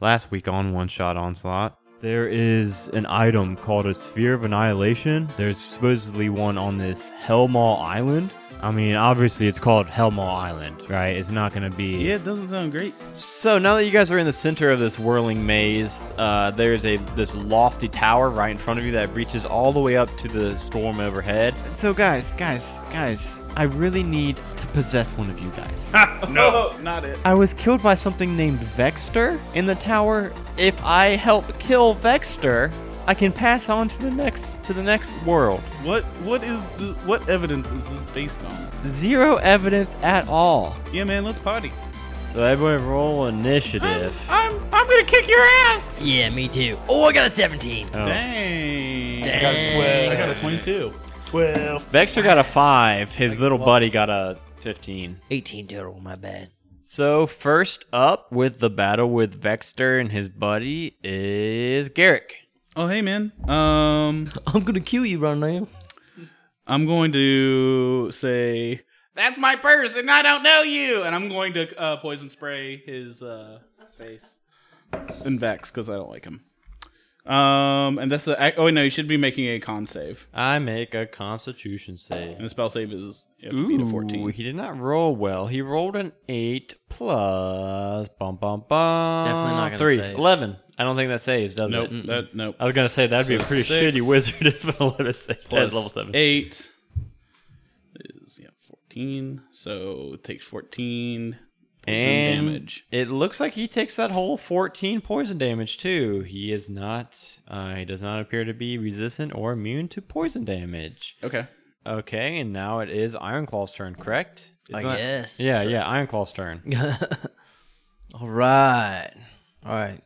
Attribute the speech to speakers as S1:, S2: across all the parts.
S1: last week on One Shot Onslaught.
S2: There is an item called a Sphere of Annihilation. There's supposedly one on this Hellmaw Island. I mean, obviously it's called Hellmaw Island, right? It's not going to be.
S1: Yeah, it doesn't sound great.
S3: So now that you guys are in the center of this whirling maze, uh, there's a this lofty tower right in front of you that reaches all the way up to the storm overhead. So guys, guys, guys, I really need to possess one of you guys.
S4: No, Oh,
S5: Oh.
S4: not it.
S3: I was killed by something named Vexter in the tower. If I help kill Vexter, I can pass on to the next to the next world.
S4: What what is this, what evidence is this based on?
S3: Zero evidence at all.
S4: Yeah, man, let's party.
S2: So everyone roll initiative.
S4: I'm I'm gonna kick your ass.
S5: Yeah, me too. Oh, I got a 17.
S2: Oh.
S4: Dang.
S5: Dang. I got a 12.
S4: I got a 22. 12.
S2: Oh. Vexter got a five. His little buddy got a fifteen.
S5: 18 total, my bad.
S3: So first up with the battle with Vexter and his buddy is Garrick.
S4: Oh, hey, man. Um,
S5: I'm gonna kill you right now.
S4: I'm going to say that's my purse, and I don't know you. And I'm going to uh, poison spray his uh, face and Vex because I don't like him. Um, and that's the. Oh wait, no, you should be making a con save,
S2: I make a Constitution save.
S4: and the spell save is it would be to
S2: Ooh,
S4: fourteen.
S2: he did not roll well. He rolled an eight plus bum bum bum.
S5: Definitely not gonna
S2: three.
S5: save.
S2: Eleven. I don't think that saves, does
S4: Nope,
S2: it?
S4: that nope.
S2: I was gonna say that'd be a
S4: So
S2: pretty
S4: six
S2: shitty wizard if an eleven saved at
S4: Plus
S2: level seven.
S4: Eight is yeah fourteen. So it takes fourteen points of
S2: And
S4: damage.
S2: It looks like he takes that whole 14 poison damage too. He is not, uh, he does not appear to be resistant or immune to poison damage.
S4: Okay.
S2: Okay, and now it is Ironclaw's turn, correct?
S5: I
S2: Isn't that-
S5: guess.
S2: Yeah, yeah, Ironclaw's turn.
S5: All right. All right.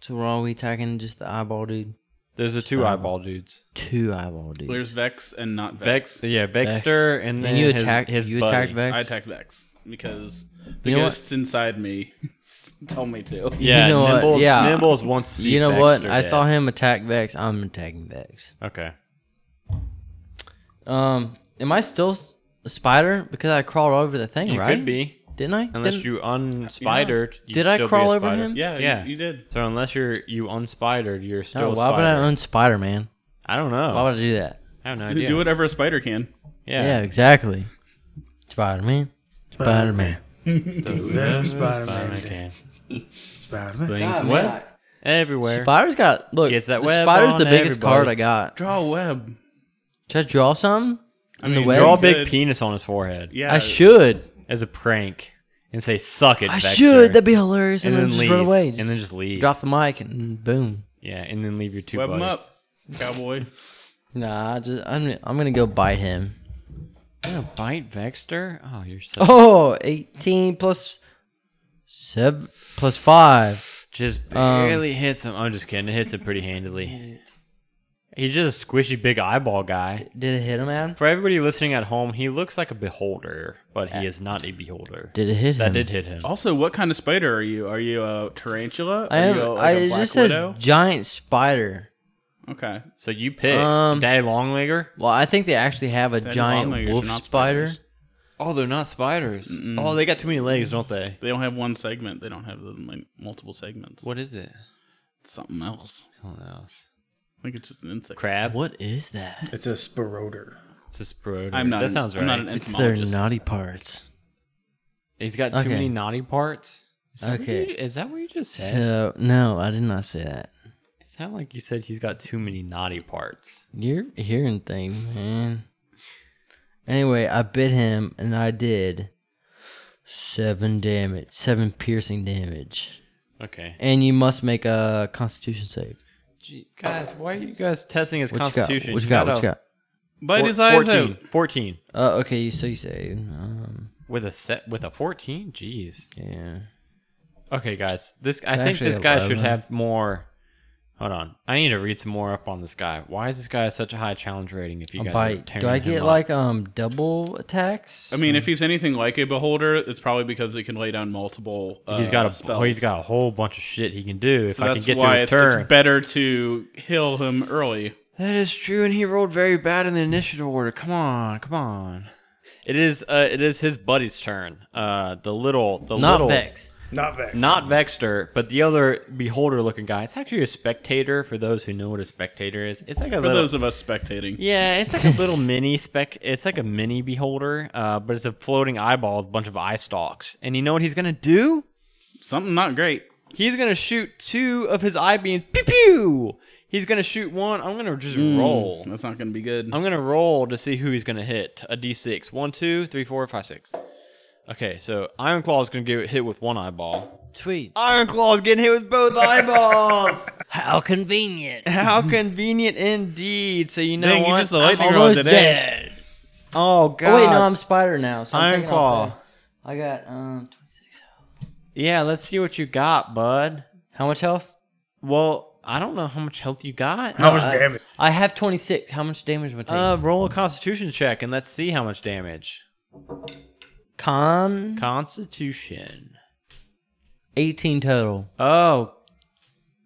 S5: So we're all we attacking just the eyeball dude.
S2: There's the two eyeball dudes.
S5: Two eyeball dude.
S4: There's Vex and not
S2: Vex, yeah, Vexter, and then
S5: and you
S2: his,
S5: attack.
S2: his
S5: you
S2: buddy.
S5: attack Vex.
S4: I attacked Vex because the
S5: You know what?
S4: ghosts inside me told me to.
S2: Yeah,
S5: You know what?
S2: Nimbles,
S5: Yeah.
S2: Nimbles wants to see
S5: You know what?
S2: Vexter
S5: I saw
S2: dead.
S5: him attack Vex. I'm attacking Vex.
S2: Okay.
S5: Um, am I still s- a spider because I crawled over the thing?
S2: You
S5: right?
S2: could be,
S5: Didn't I?
S2: unless
S5: Didn't-
S2: you unspidered. you'd
S5: Did I
S2: still be a
S5: crawl over
S2: spider.
S5: him?
S4: Yeah, you-
S2: Yeah.
S4: You, did.
S2: So unless you're you unspidered, you're still
S5: No,
S2: a
S5: Oh, why would I
S2: spider.
S5: unspider man?
S2: I don't know.
S5: Why would I do that?
S2: I have no
S4: You
S2: idea.
S4: Do whatever a spider can.
S2: Yeah.
S5: Yeah, exactly. Spider Man. Spider Man.
S6: Spider-Man. Spider-Man.
S2: Spider-Man.
S6: Spider-Man.
S2: Things wet everywhere.
S5: Spider's got look.
S2: Gets that
S5: the
S2: web
S5: spider's
S2: on
S5: the biggest
S2: everybody.
S5: card I got.
S4: Draw a web.
S5: Should I draw something?
S4: I
S5: In the
S4: mean,
S5: web?
S2: Draw a
S4: you
S2: big
S4: could-
S2: penis on his forehead
S4: Yeah.
S5: I should.
S2: as a prank and say, "Suck it."
S5: I
S2: Vexter,"
S5: should. That'd be hilarious.
S2: and
S5: And,
S2: then
S5: then,
S2: leave.
S5: just run away.
S2: and then just leave.
S5: drop the mic and boom.
S2: Yeah, and then leave your two
S4: Web him
S2: buddies.
S4: up, cowboy.
S5: Nah, I just I'm I'm gonna go bite him.
S2: You gonna bite Vexter? Oh, you're so
S5: Oh, 18 plus seven plus five.
S2: just barely hits him. I'm just kidding. It hits him pretty handily. He's just a squishy big eyeball guy.
S5: Did it hit him, Adam?
S2: For everybody listening at home, he looks like a beholder, but he is not a beholder.
S5: Did it hit him?
S2: That did hit him.
S4: Also, what kind of spider are you? Are you a tarantula? Are
S5: I am.
S4: you a,
S5: I,
S4: like a
S5: it
S4: black
S5: just
S4: widow?
S5: says giant spider.
S4: Okay.
S2: So you pick
S5: Um,
S2: Daddy Longlegger.
S5: Well, I think they actually have a giant
S4: longleggers are
S5: wolf
S4: not
S5: spider.
S4: spiders.
S2: Oh, they're not spiders. Oh, they got too many legs, don't they?
S4: They don't have one segment. They don't have the, like, multiple segments.
S2: What is it?
S4: Something else.
S2: Something else.
S4: I think it's just an insect.
S2: Crab? What?
S5: Is that?
S6: It's a spiroder.
S2: It's a spiroder.
S4: I'm not.
S2: That
S4: an-
S2: sounds right.
S4: I'm not an
S5: It's their
S4: entomologist.
S5: naughty parts.
S2: He's got too
S5: Okay.
S2: many naughty parts. Is that what
S5: Okay.
S2: you- is that what you just said?
S5: So no, I did not say that.
S2: It sounded like you said he's got too many naughty parts.
S5: You're hearing things, man. Anyway, I bit him, and I did seven damage, seven piercing damage.
S2: Okay.
S5: And you must make a Constitution save.
S2: Gee, guys, why are you guys testing his
S5: What you got?
S2: constitution?
S5: What you got? What
S2: a
S5: you got?
S4: Bite
S2: four-
S4: his eyes out.
S2: 14, 14.
S5: Uh, okay, you so you save. Um,
S2: With a set with a 14? Jeez.
S5: yeah.
S2: Okay, guys. This I
S5: It's
S2: think
S5: actually
S2: this guy should
S5: 11.
S2: have more Hold on. I need to read some more up on this guy. Why is this guy such a high challenge rating if you
S5: A
S2: guys are
S5: bite.
S2: tearing
S5: Do I
S2: him
S5: get
S2: up?
S5: like um double attacks?
S4: I mean,
S6: Mm.
S4: if he's anything like a beholder, it's probably because he can lay down multiple. Uh,
S2: he's got a
S4: spells.
S2: oh, he's got a whole bunch of shit he can do if
S4: So
S2: I
S4: that's
S2: can get to
S4: why
S2: his
S4: it's,
S2: turn.
S4: it's better to heal him early.
S2: that is true, and he rolled very bad in the initiative order. Come on, come on. It is uh, it is his buddy's turn. Uh, the little the
S5: Not
S2: little
S5: Vex.
S6: Not Vex.
S2: Not Vexter, but the other beholder looking guy. It's actually a spectator for those who know what a spectator is. It's like a
S4: For
S2: little,
S4: those of us spectating,
S2: Yeah, it's like a little mini spec. It's like a mini beholder, uh, but it's a floating eyeball with a bunch of eye stalks. And you know what he's gonna do?
S4: something not great.
S2: He's gonna shoot two of his eye beams. Pew pew. He's gonna shoot one. I'm gonna just
S4: Hmm.
S2: roll.
S4: That's not going to be good.
S2: I'm gonna roll to see who he's gonna hit. A D6. One, two, three, four, five, six. Okay, so Iron Claw is gonna get hit with one eyeball.
S5: Tweet.
S2: Iron Claw's getting hit with both eyeballs.
S5: How convenient.
S2: How convenient indeed. So you know
S4: Mm-hmm. Dang, you
S2: what?
S4: just the lightning
S5: I'm
S4: rod
S5: almost
S4: today.
S5: dead.
S2: oh god.
S5: Oh wait, no, I'm Spider now. So I'm
S2: Iron
S5: taking off
S2: Claw.
S5: that. I got um.
S2: Yeah, let's see what you got, bud.
S5: How much health?
S2: Well, I don't know how much health you got.
S6: How much
S5: I-
S6: damage?
S5: I have 26. How much damage am I taking?
S2: Uh, roll a Constitution check and let's see how much damage.
S5: Con
S2: Constitution.
S5: 18 total.
S2: Oh,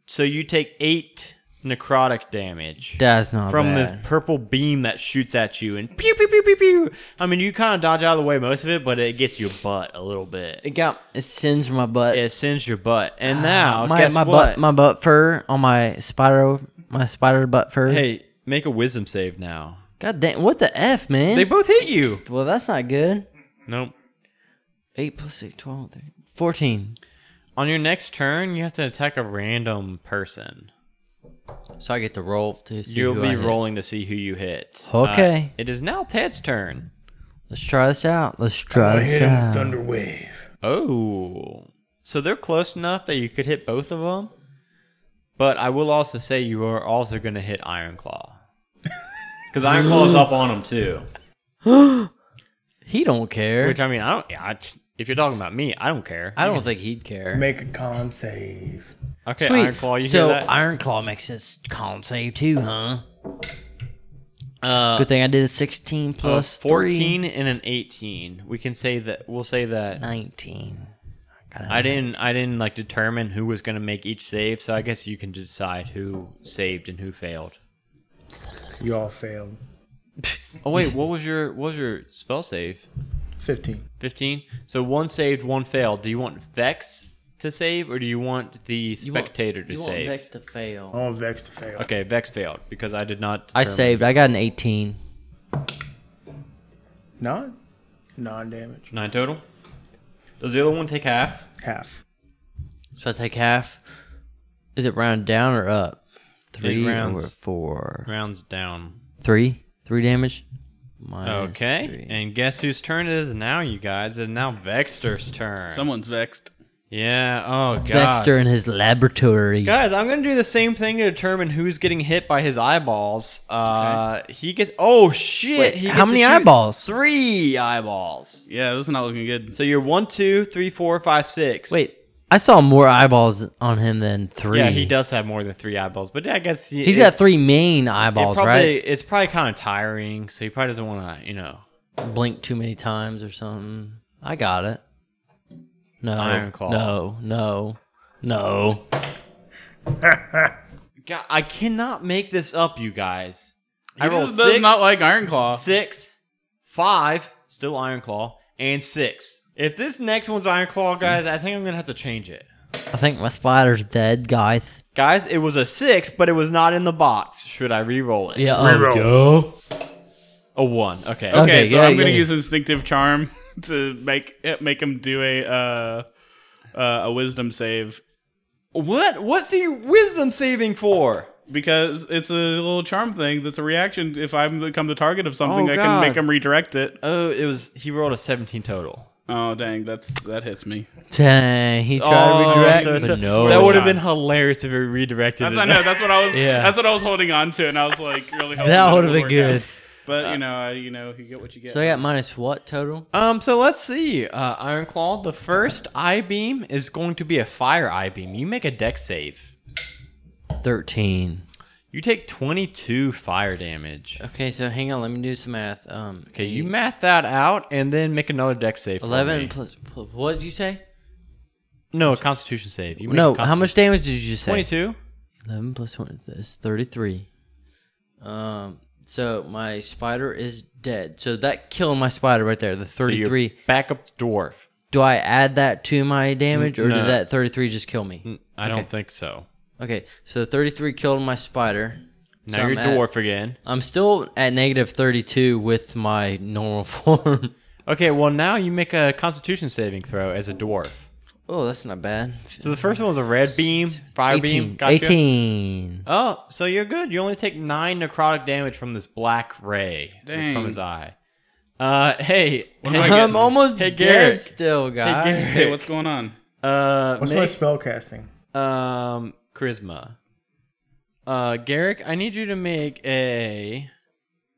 S2: so you take eight necrotic damage
S5: That's not
S2: from
S5: bad.
S2: this purple beam that shoots at you and pew pew pew pew pew. I mean, you kind of dodge out of the way most of it, but it gets your butt a little bit.
S5: It got it singed my butt.
S2: It sends your butt, and now
S5: Ah, my
S2: guess
S5: my
S2: what?
S5: butt my butt fur on my spider my spider butt fur.
S2: hey, make a wisdom save now.
S5: God damn! What the f, man?
S2: They both hit you.
S5: well, that's not good.
S2: Nope.
S5: Eight plus eight, 12, 13, 14.
S2: On your next turn, you have to attack a random person.
S5: So I get to roll to see
S2: You'll
S5: who
S2: be
S5: I hit.
S2: rolling to see who you hit.
S5: Okay.
S2: Uh, it is now Ted's turn.
S5: Let's try this out. Let's
S6: I
S5: try
S6: hit
S5: this
S6: him with
S5: out.
S6: Thunder Wave.
S2: Oh. So they're close enough that you could hit both of them. But I will also say you are also going to hit Iron Claw. Because Iron Claw is up on him too.
S5: He don't care.
S2: Which, I mean, I don't. I, if you're talking about me, I don't care.
S5: I don't think he'd care.
S6: Make a con save.
S2: Okay,
S5: Sweet.
S2: Iron Claw, you hear
S5: so
S2: that?
S5: Iron Claw makes us con save too, huh?
S2: uh,
S5: Good thing I did a 16
S2: a
S5: plus
S2: 14
S5: three.
S2: and an 18. We can say that. We'll say that.
S5: 19.
S2: I didn't I didn't like determine who was gonna make each save, so I guess you can decide who saved and who failed.
S6: You all failed.
S2: Oh wait, what was your what was your spell save?
S6: 15.
S2: Fifteen? So one saved, one failed. Do you want Vex to save or do you want the spectator to save?
S5: Vex to fail.
S6: I want Vex to fail.
S2: Okay, Vex failed because I did not
S5: I
S2: determine-
S5: saved. I got an 18.
S6: Nine? Nine damage.
S2: nine total. Does the other one take half?
S6: Half.
S5: So I take half. Is it round down or up? Three
S2: rounds.
S5: or four?
S2: Rounds down.
S5: Three. Three damage. Minus
S2: Okay.
S5: three.
S2: And guess whose turn it is now, you guys? It's now Vexter's turn.
S4: Someone's vexed.
S2: yeah. Oh god.
S5: Dexter in his laboratory.
S2: Guys, I'm gonna do the same thing to determine who's getting hit by his eyeballs. Uh, he gets. Oh shit!
S5: Wait,
S2: he
S5: how
S2: gets to
S5: many
S2: shoot
S5: eyeballs?
S2: Three eyeballs.
S4: Yeah, this is not looking good.
S2: So you're one, two, three, four, five, six.
S5: Wait, I saw more eyeballs on him than three.
S2: Yeah, he does have more than three eyeballs, but I guess he,
S5: He's
S2: it-
S5: got three main
S2: it
S5: eyeballs,
S2: probably,
S5: right?
S2: It's probably kind of tiring, so he probably doesn't want to, you know.
S5: Blink too many times or something. I got it. No,
S2: Iron Claw.
S5: no, no, no.
S2: God, I cannot make this up, you guys. I
S4: He
S2: rolled
S4: just
S2: six,
S4: does not like Iron Claw.
S2: six, five, still Iron Claw, and six. If this next one's Iron Claw, guys, I think I'm gonna have to change it.
S5: I think my spider's dead, guys.
S2: Guys, it was a six, but it was not in the box. Should I re-roll it?
S5: Yeah,
S6: Reroll.
S5: um, go.
S2: A one. Okay.
S5: Okay.
S4: Okay, so
S5: yeah,
S4: I'm gonna
S5: yeah.
S4: use instinctive charm to make eh, make him do a uh, uh, a wisdom save
S2: What? What's he wisdom saving for?
S4: because it's a little charm thing. That's a reaction. If I become the target of something,
S2: Oh,
S4: I
S2: God.
S4: can make him redirect it.
S2: Oh, it was. He rolled a seventeen total.
S4: Oh dang, that's that hits me.
S5: Dang, he tried to redirect,
S2: Oh, so-
S5: but
S2: so-
S5: no.
S2: That would have been hilarious if he redirected.
S4: That's
S2: it.
S4: I know. That's what I was.
S5: Yeah.
S4: That's what I was holding on to, and I was like really. hoping
S5: That
S4: it
S5: would've
S4: would
S5: been
S4: work out. Uh,
S5: good.
S4: But you know, I, you know, you get what you get.
S5: So I got minus what total?
S2: Um. So let's see. Uh, Iron Claw. The first I beam is going to be a fire I beam. You make a deck save.
S5: Thirteen.
S2: You take twenty-two fire damage.
S5: Okay, so hang on, let me do some math. Um,
S2: Okay. You math that out and then make another deck save. for me.
S5: eleven plus, plus what did you say?
S2: No, a Constitution save. You make
S5: No,
S2: a
S5: how much damage did you say?
S2: Twenty-two.
S5: 11 plus 20 is 33. Um, so my spider is dead. So that killed my spider right there, the
S2: So you're
S5: 33.
S2: Back up to dwarf.
S5: Do I add that to my damage, or
S7: No.
S5: did that 33 just kill me?
S7: I
S5: Mm, Okay.
S7: don't think so.
S5: Okay, so 33 killed my spider.
S2: Now
S5: So
S2: you're
S5: I'm at-
S2: dwarf again.
S5: I'm still at negative 32 with my normal form.
S2: Okay, well now you make a Constitution saving throw as a dwarf.
S5: oh, that's not bad.
S2: So the first one was a red beam, fire
S5: 18.
S2: beam, gotcha.
S5: 18.
S2: Oh, so you're good. You only take nine necrotic damage from this black ray from
S4: Dang.
S2: his eye. Uh, hey,
S4: am I
S2: hey,
S5: I'm
S4: getting?
S5: almost
S2: Hey,
S5: dead
S2: Garrick.
S5: still, guys.
S2: Garrick.
S4: Hey, what's going on?
S2: uh,
S6: What's my
S2: make,
S6: spell casting?
S2: um, charisma. Uh, Garrick, I need you to make a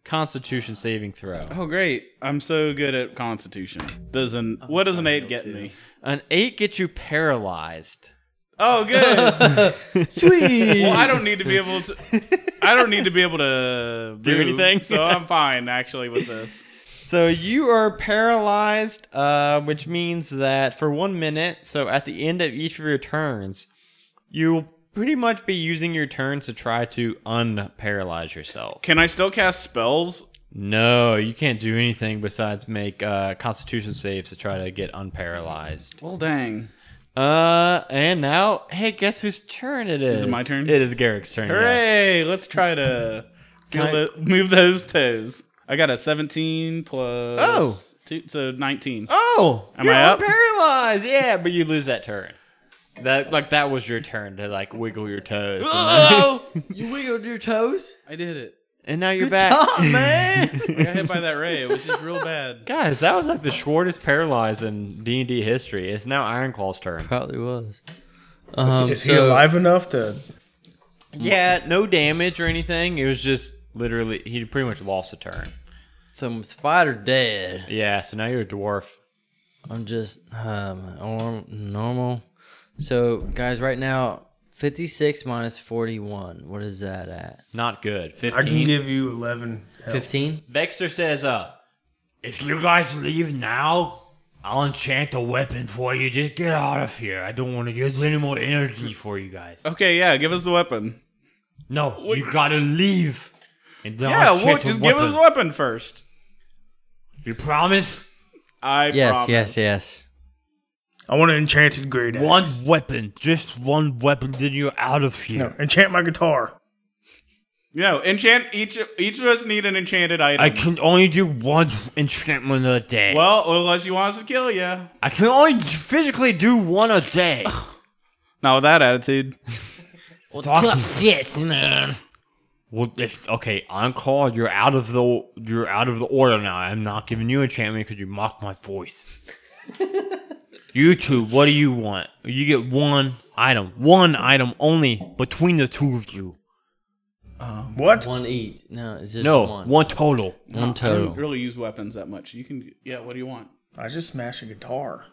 S2: Constitution saving throw.
S4: Oh, great! I'm so good at Constitution. Does an what does an eight get me?
S2: An eight gets you paralyzed.
S4: Oh, good.
S5: Sweet.
S4: well, I don't need to be able to. I don't need to be able to
S2: Do
S4: move,
S2: anything?
S4: so I'm fine actually with this.
S2: So you are paralyzed, uh, which means that for one minute, so at the end of each of your turns, you'll pretty much be using your turns to try to unparalyze yourself.
S4: Can I still cast spells?
S2: No, you can't do anything besides make uh, Constitution saves to try to get unparalyzed.
S4: Well, dang!
S2: Uh, and now, hey, guess whose turn it is?
S4: it my turn?
S2: It is Garrick's turn. yes.
S4: Hooray! Let's try to feel the- move those toes. I got a 17 plus
S2: Oh.
S4: two, so 19.
S2: Oh,
S4: Am
S2: you're
S4: I up?
S2: Paralyzed. Yeah, but you lose that turn. That like that was your turn to like wiggle your toes, and,
S5: you wiggled your toes?
S4: I did it.
S2: and now you're
S5: Good
S2: back.
S5: job, man.
S4: I got hit by that ray. It was just real bad.
S2: Guys, that was like the shortest paralyzed in D and D history. It's now Ironclaw's turn.
S5: Probably was.
S6: Is-
S5: Um,
S6: is he
S5: so-
S6: alive enough to?
S2: Yeah, no damage or anything. It was just literally he pretty much lost a turn.
S5: Some spider dead.
S2: Yeah, so now you're a dwarf.
S5: I'm just um norm, normal. So guys, right now 56 minus 41. What is that at?
S2: Not good.
S6: I can
S2: Fifteen.
S6: give you eleven. health.
S5: 15.
S2: Vexter says, "Uh, if you guys leave now." I'll enchant a weapon for you. Just get out of here. I don't want to use any more energy for you guys.
S4: Okay, yeah, give us the weapon.
S2: No, you gotta leave. And don't
S4: yeah,
S2: shit
S4: well,
S2: a
S4: just give us the weapon first.
S2: You promise?
S4: I
S5: Yes,
S4: promise.
S5: yes, yes.
S6: I want an enchanted great axe.
S7: One weapon, just one weapon, then you're out of here.
S6: No, enchant my guitar.
S4: No, enchant each each of us need an enchanted item.
S7: I can only do one enchantment a day.
S4: well, unless you want us to kill you.
S7: I can only physically do one a day.
S4: Not with that attitude.
S7: Tough man. Well, if, okay, on call. You're out of the you're out of the order now. I'm not giving you enchantment because you mocked my voice. you two, what do you want? You get one item, one item only between the two of you.
S6: What?
S5: One each. No, it's just
S7: No,
S5: one.
S7: one, total.
S5: One
S2: Oh.
S4: I don't
S5: total.
S4: really use weapons that much. You can, yeah. What do you want?
S6: I just smashed a guitar.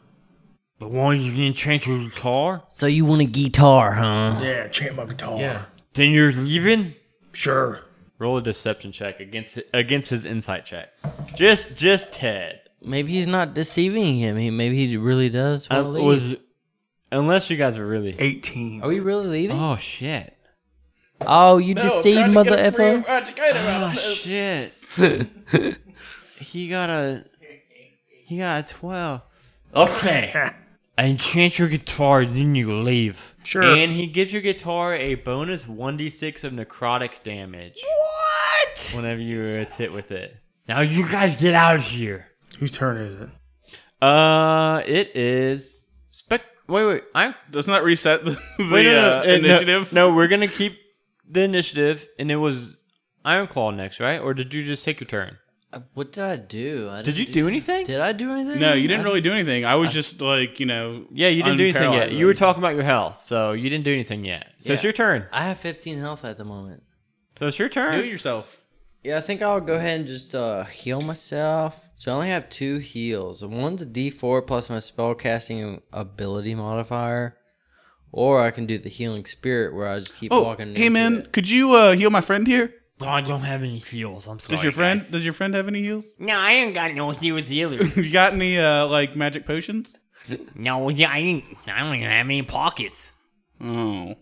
S7: But one you can change your car.
S5: So you want a guitar, huh?
S6: Yeah, enchant my guitar.
S7: Then you're leaving.
S6: Sure.
S2: Roll a deception check against against his insight check. Just just Ted.
S5: Maybe he's not deceiving him. He maybe he really does
S2: I
S5: want to leave.
S2: Um, was unless you guys are really.
S6: Eighteen.
S5: Are we really leaving?
S2: Oh shit!
S5: oh, you deceived mother effer.
S2: Oh
S4: effer.
S2: shit! he got a he got a twelve. Okay. Enchant your guitar, then you leave.
S6: Sure.
S2: And he gives your guitar a bonus one d six of necrotic damage. What? Whenever you it's hit with it. Now you guys get out of here.
S6: Whose turn is it?
S2: Uh, it is spec. Wait, wait. I'm
S4: Doesn't that reset the, the
S2: wait. no, no, no,
S4: uh,
S2: no,
S4: initiative?
S2: No, we're gonna keep the initiative, and it was Ironclaw next, right? Or did you just take your turn?
S5: Uh, What did I do? I
S2: Did you
S5: didn't
S2: do anything?
S5: Did I do anything?
S4: No, you didn't really do anything. I was just like, you know.
S2: yeah, you didn't do anything yet.
S4: unparalyzed.
S2: You were talking about your health, so you didn't do anything yet. So it's
S5: Yeah.
S2: your turn.
S5: I have 15 health at the moment.
S2: So it's your
S4: Heal
S2: turn.
S4: yourself.
S5: Yeah, I think I'll go ahead and just uh, heal myself. So I only have two heals. One's a D4 plus my spellcasting ability modifier, or I can do the healing spirit where I just keep
S4: Oh,
S5: walking.
S4: hey
S5: into
S4: man,
S5: it.
S4: could you uh, heal my friend here?
S7: Oh, I don't have any heals. I'm sorry.
S4: Does your friend?
S7: guys.
S4: Does your friend have any heals?
S7: No, I ain't got no heals either.
S4: you got any uh, like magic potions?
S7: no, yeah, I ain't. I don't even have any pockets.
S4: Oh,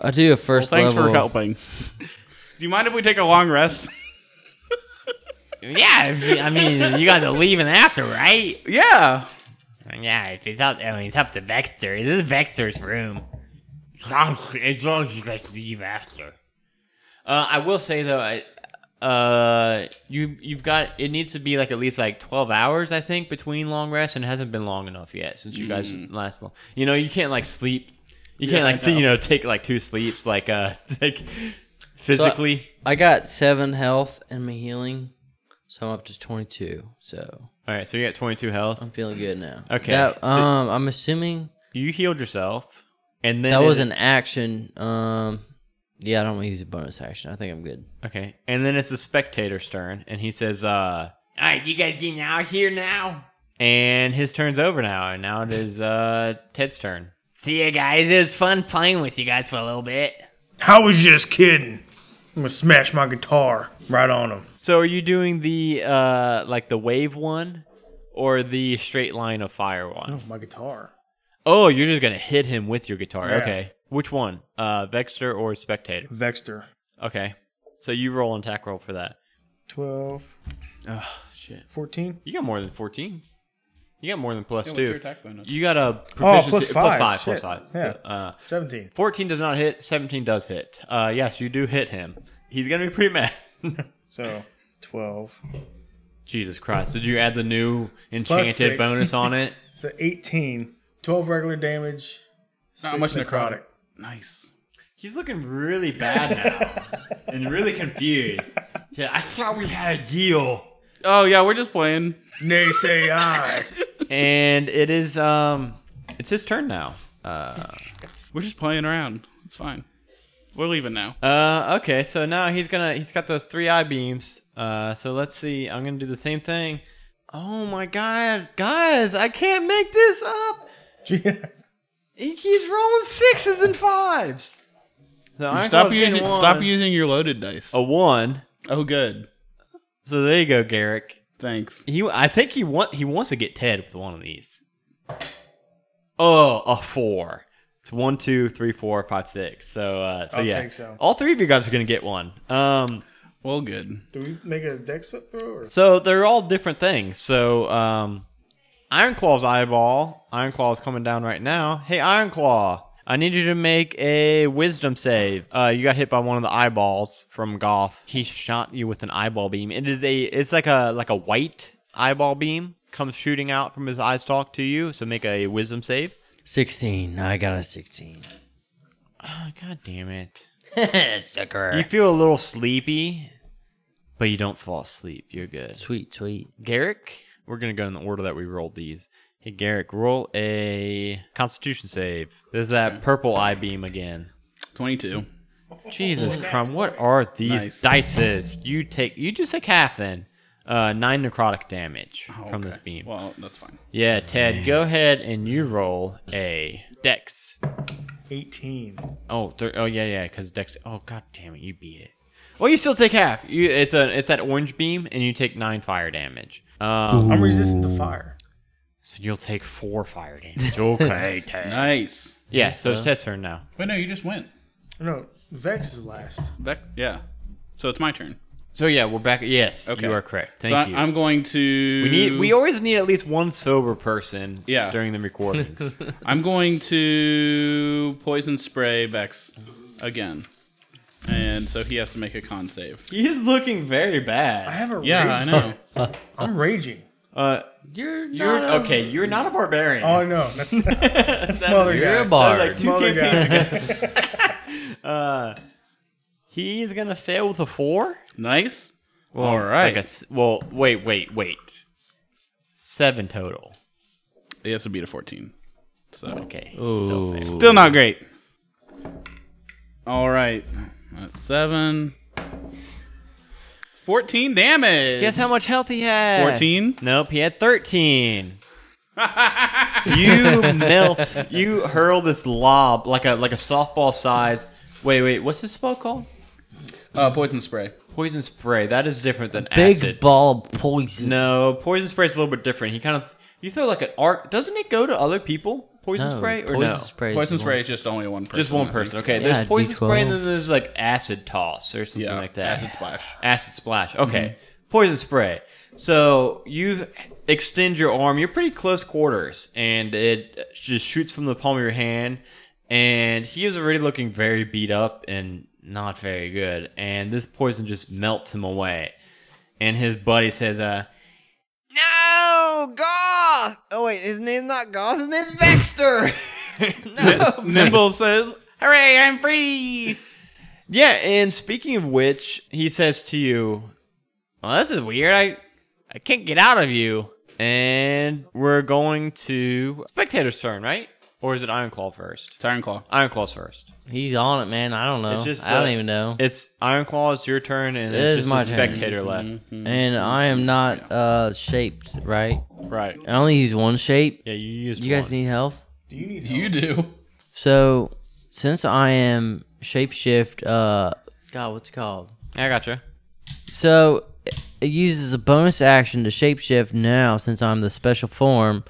S5: I do a first
S4: thanks
S5: level.
S4: for helping. do you mind if we take a long rest?
S3: Yeah, if- I mean, you guys are leaving after, right?
S4: Yeah.
S3: Yeah, if he's up, I mean, it's up to Vexter. This is Vexter's room. As long as, as long as you guys leave after.
S2: Uh, I will say though, I, uh, you you've got it needs to be like at least like twelve hours, I think, between long rest, and it hasn't been long enough yet since you guys last long. You know, you can't like sleep. You can't
S4: Mm. I
S2: like t-
S4: know.
S2: you know take like two sleeps like uh like physically.
S5: I got seven health and my healing, so I'm up to 22. So
S2: All right, so you got twenty two health.
S5: I'm feeling good now.
S2: Okay,
S5: That-
S2: so-
S5: um, I'm assuming
S2: You healed yourself, and then
S5: that
S2: it-
S5: was an action. Um, yeah, I don't want to use a bonus action. I think I'm good.
S2: okay, and then it's the spectator's turn, and he says, uh.
S3: All right, you guys getting out of here now?
S2: And his turn's over now, and now it is uh, Ted's turn.
S3: See you guys. It was fun playing with you guys for a little bit.
S6: I was just kidding. I'm gonna smash my guitar right on him.
S2: So are you doing the uh like the wave one or the straight line of fire one?
S6: My guitar.
S2: Oh, you're just gonna hit him with your guitar.
S6: Yeah.
S2: Okay. Which one? Uh Vexter or Spectator?
S6: Vexter.
S2: Okay. So you roll an attack roll for that.
S6: 12,
S2: Oh shit.
S6: 14.
S2: You got more than fourteen. You got more than plus
S4: Yeah, what's
S2: two.
S4: your attack bonus?
S2: You got a
S6: Oh, plus
S2: proficiency
S6: five.
S2: five, plus
S6: Shit.
S2: five.
S6: Yeah.
S2: Uh
S6: 17.
S2: 14 does not hit, 17 does hit. Uh yes, you do hit him. He's gonna be pretty mad.
S6: So 12.
S2: Jesus Christ. Did you add the new enchanted
S6: six.
S2: bonus on it?
S6: So 18. 12 regular damage.
S4: Not
S6: six
S4: much necrotic. Nice.
S2: He's looking really bad now and really confused. Yeah, I thought we had a deal.
S4: Oh yeah, we're just playing.
S6: Nay say I.
S2: And it is um it's his turn now. Uh
S4: We're just playing around. It's fine. We're leaving now.
S2: uh okay, so now he's gonna he's got those three eye beams. Uh so let's see. I'm gonna do the same thing. Oh my god, guys, I can't make this up. He keeps rolling sixes and fives. So Iron
S4: Stop
S2: Claw's getting
S4: using
S2: one.
S4: stop using your loaded dice.
S2: a one.
S4: oh good.
S2: So there you go, Garrick.
S4: Thanks.
S2: He, I think he want he wants to get Ted with one of these. Oh, a four. It's one, two, three, four, five, six. So, uh, so
S6: I'll
S2: yeah,
S6: take so.
S2: all three of you guys are gonna get one. Um,
S4: Well good.
S6: Do we make a dex up throw? Or?
S2: so they're all different things. So, um, Iron Claw's eyeball. Iron Claw's coming down right now. Hey, Iron Claw, I need you to make a Wisdom save. Uh, you got hit by one of the eyeballs from Goth. He shot you with an eyeball beam. It is a, it's like a like a white eyeball beam comes shooting out from his eye stalk to you. So make a Wisdom save.
S5: 16. I got a 16.
S2: Oh, God damn it! You
S5: Sucker.
S2: feel a little sleepy, but you don't fall asleep. You're good.
S5: Sweet, sweet.
S2: Garrick, we're gonna go in the order that we rolled these. Hey, Garrick, roll a Constitution save. There's that purple eye beam again.
S4: Twenty two.
S2: Jesus Christ, what are these dices? You take, you just take half then. Uh, nine necrotic damage from this beam.
S4: Well, that's fine.
S2: yeah, Ted, go ahead and you roll a Dex.
S6: 18.
S2: Oh, thir- oh yeah, yeah, because Dex. Oh god damn it, you beat it. Well, you still take half. You, it's a, it's that orange beam, and you take nine fire damage. Um,
S6: I'm resistant to fire.
S2: so you'll take four fire damage. Okay, Ted.
S4: Nice.
S2: Yeah, so it's Ted's turn now.
S4: Wait, no, you just went.
S6: No, Vex is last.
S4: That yeah. So it's my turn.
S2: So yeah, we're back. Yes,
S4: Okay.
S2: you are correct. Thank
S4: so I,
S2: you.
S4: I'm going to
S2: we need. We always need at least one sober person.
S4: Yeah.
S2: during the recordings.
S4: I'm going to poison spray Vex again. And so he has to make a con save.
S2: he is looking very
S6: I
S2: bad.
S6: have a
S4: Yeah, I
S6: rage.
S4: know.
S6: I'm raging.
S2: Uh,
S5: You're,
S2: you're okay. You're not a barbarian.
S6: Oh, no. That's
S2: that's
S6: another guy.
S5: You're a
S6: That's
S5: bard.
S2: Like two
S6: Smaller
S2: campaigns ago. uh, he's gonna fail with a four.
S4: Nice.
S2: Well,
S4: All right.
S2: Like a s- well, wait, wait, wait. Seven total.
S4: Yes, would be to 14. So
S2: Okay.
S4: still not great. All right. That's 7. 14 damage.
S2: Guess how much health he had?
S4: 14?
S2: Nope, he had 13. you melt. You hurl this lob like a like a softball size. Wait, wait. What's this spell called?
S4: Uh, poison spray.
S2: Poison spray. That is different than
S5: Big
S2: acid.
S5: ball poison.
S2: no, poison spray is a little bit different. He kind of you throw like an arc. Doesn't it go to other people? Poison spray or no?
S5: spray. is
S4: Poison
S5: the
S4: spray is just only one person.
S2: Just one
S4: I
S2: person.
S4: think.
S2: Okay.
S5: Yeah,
S2: there's poison
S5: D12.
S2: spray and then there's like acid toss or something
S4: Yeah.
S2: like that.
S4: Acid splash. Mm-hmm.
S2: Acid splash. Okay. poison spray. So you extend your arm. You're pretty close quarters, and it just shoots from the palm of your hand. And he is already looking very beat up and not very good. And this poison just melts him away. And his buddy says, "Uh,
S5: No, Goth. Oh wait, his name's not Goth. His name's Baxter. no,
S4: Nimble says, "Hooray, I'm free!"
S2: Yeah, and speaking of which, he says to you, "Well, this is weird. I, I can't get out of you." And we're going to spectator's turn, right? Or is it Iron Claw first?
S4: Tyrant Claw.
S2: Iron Claw's first.
S5: he's on it, man. I don't know.
S2: It's just
S5: Oh, I don't
S2: the-
S5: even know.
S2: It's Iron Claw. It's your turn, and
S5: It
S2: it's
S5: is
S2: just
S5: my
S2: a
S5: turn.
S2: spectator left.
S5: And I am not uh shaped right.
S2: Right.
S5: I only use one shape.
S2: Yeah, you use.
S5: You guys
S2: one.
S5: need health.
S4: You do.
S5: So since I am shapeshift, uh, God, what's it called?
S2: I gotcha.
S5: So it uses a bonus action to shapeshift now since I'm the special form,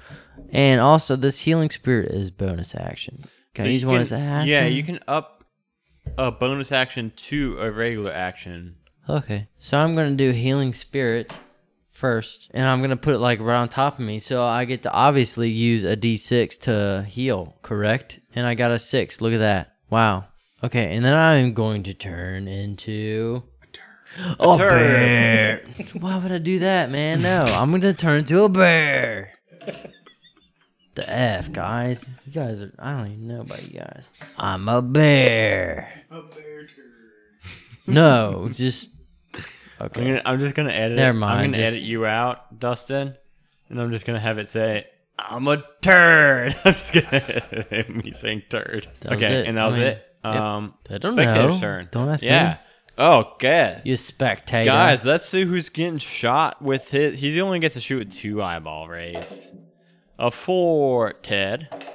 S5: and also this healing spirit is bonus action.
S2: So
S5: Can I
S2: you
S5: use one
S2: can-
S5: as an action?
S2: Yeah, you can up a bonus action to a regular action.
S5: Okay, so I'm gonna do healing spirit first, and I'm gonna put it like right on top of me, so I get to obviously use a D6 to heal, correct? And I got a six. Look at that! Wow. Okay, and then I'm going to turn into a bear. Why would I do that, man? No, I'm gonna turn into a bear. The F, guys. You guys are. I don't even know about you guys. I'm a bear. A bear turd. No, just.
S2: I'm,
S5: Okay.
S2: gonna, I'm just gonna edit. it.
S5: Never
S2: I'm
S5: mind,
S2: gonna
S5: just-
S2: edit you out, Dustin, and I'm just gonna have it say, "I'm a turd." I'm just gonna edit it, me saying "turd."
S5: That was
S2: okay,
S5: it.
S2: and that was
S5: I mean,
S2: it. Um,
S5: I don't
S2: spectator's
S5: know.
S2: turn.
S5: Don't ask me.
S2: yeah. Oh, god.
S5: You spectator.
S2: Guys, let's see who's getting shot with his. He only gets to shoot with two eyeball rays. A four, Ted,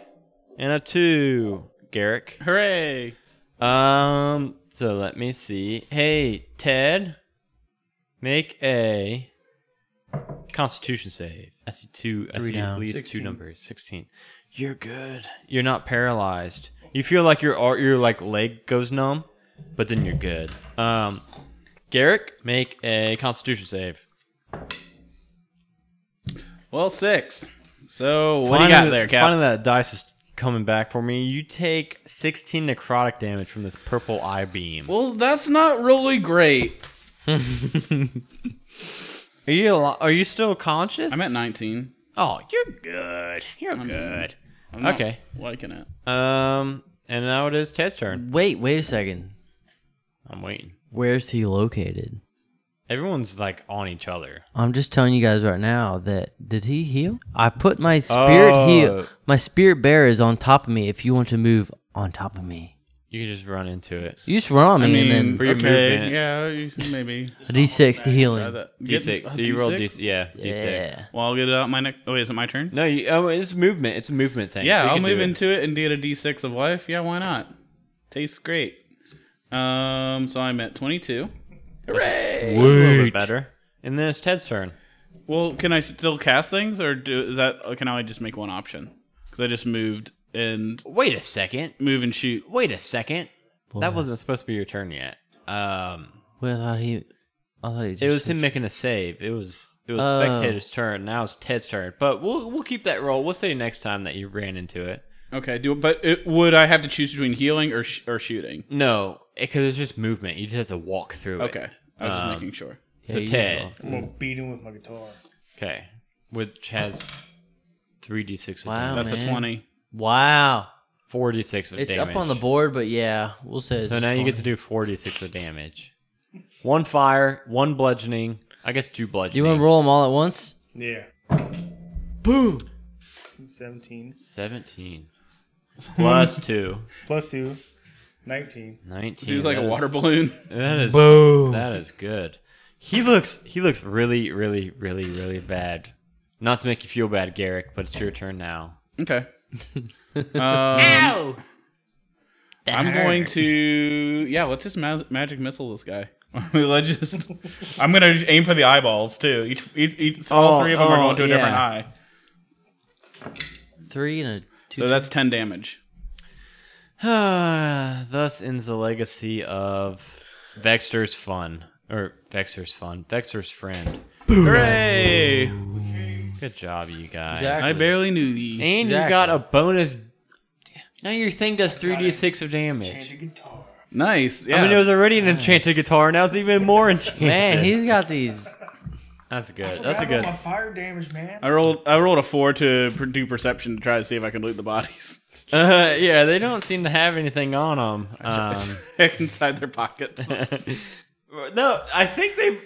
S2: and a two, Garrick.
S4: Hooray!
S2: Um, so let me see. Hey, Ted, make a Constitution save. I see two. I see
S5: down.
S2: at least two numbers. Sixteen. You're good. You're not paralyzed. You feel like your ar- your like leg goes numb, but then you're good. Um, Garrick, make a Constitution save.
S4: Well, six. So what do you got there, Cap?
S2: Finding that dice is coming back for me. You take sixteen necrotic damage from this purple eye beam.
S4: Well, that's not really great.
S2: Are you al- are you still conscious?
S4: I'm at 19.
S2: Oh, you're good. You're good.
S4: I'm not
S2: Okay.
S4: liking it.
S2: Um, and now it is Ted's turn.
S5: Wait, wait a second.
S2: I'm waiting.
S5: Where's he located?
S2: Everyone's like on each other.
S5: I'm just telling you guys right now that did he heal? I put my spirit heal.
S2: Oh.
S5: My spirit bear is on top of me. If you want to move on top of me,
S2: You can just run into it.
S5: you just run on me and
S2: for
S5: then
S2: your
S4: okay,
S2: movement.
S4: yeah, you- maybe.
S5: a D6 to
S4: Try
S5: healing.
S4: that. Get-
S2: D6.
S4: uh,
S2: So you roll
S4: D6?
S2: D6. Yeah,
S5: Yeah.
S2: D6.
S4: Well, I'll get it out my next. Oh, wait, is it my turn?
S2: No, you, oh, it's movement. It's a movement thing.
S4: Yeah,
S2: so you
S4: I'll
S2: can do
S4: move
S2: it.
S4: into it and get a D6 of life. Yeah, why not? Tastes great. Um, so I'm at 22.
S2: That's a little bit better. And then it's Ted's turn.
S4: Well, can I still cast things, or do is that or can I just make one option? Because I just moved and
S2: Wait a second.
S4: move and shoot.
S2: Wait a second. That wasn't supposed to be your turn yet. Um,
S5: Well, I thought he. I thought he just
S2: It was him making a save. It was it was
S5: Oh.
S2: spectator's turn. Now it's Ted's turn. But we'll we'll keep that roll. We'll say next time that you ran into it.
S4: Okay, do but it, would I have to choose between healing or sh- or shooting?
S2: No, because it's just movement. You just have to walk through it.
S4: Okay, I was
S2: Um,
S4: just making sure.
S5: Yeah,
S2: So
S5: you just
S2: Ted.
S5: walk.
S6: I'm gonna beat him with my guitar.
S2: Okay. Which has three d six.
S5: Wow,
S4: That's
S5: man.
S4: a 20.
S5: Wow,
S2: Four d six of
S5: it's
S2: damage.
S5: up on the board, but yeah, we'll say. it's
S2: So now you get to
S5: 20.
S2: do four d six of damage. One fire, one bludgeoning. I guess two bludgeoning.
S5: Do you want to roll them all at once?
S6: Yeah.
S5: Boom.
S6: 17
S2: Seventeen. Plus two.
S6: plus 2, 19.
S2: Nineteen.
S4: He's like a
S2: That is-
S4: water balloon.
S2: That is That is good. He looks he looks really really really really bad. Not to make you feel bad, Garrick, but it's your turn now.
S4: Okay. um, I'm going to yeah. Let's just ma- magic missile this guy. let's just. I'm gonna aim for the eyeballs too. Each, each, each all
S2: Oh,
S4: three of them are
S2: oh,
S4: going to a different
S5: yeah.
S4: eye.
S5: Three and a two.
S4: So that's ten damage.
S2: Thus ends the legacy of Vexter's fun or Vexer's fun. Vexer's friend.
S4: Hooray!
S2: Good job, you guys.
S5: Exactly.
S4: I barely knew thee.
S2: And you
S5: Exactly.
S2: got a bonus. Now your thing does 3d6 of damage.
S4: Nice. Yeah.
S2: I mean, it was already an enchanted guitar. Now it's even more enchanted.
S5: Man, he's got these.
S2: that's good. That's a good.
S6: My fire damage, man.
S4: I rolled. I rolled a four to per- do perception to try to see if I can loot the bodies.
S2: Uh, yeah, they don't seem to have anything on them. Um,
S4: Check inside their pockets.
S2: no, I think they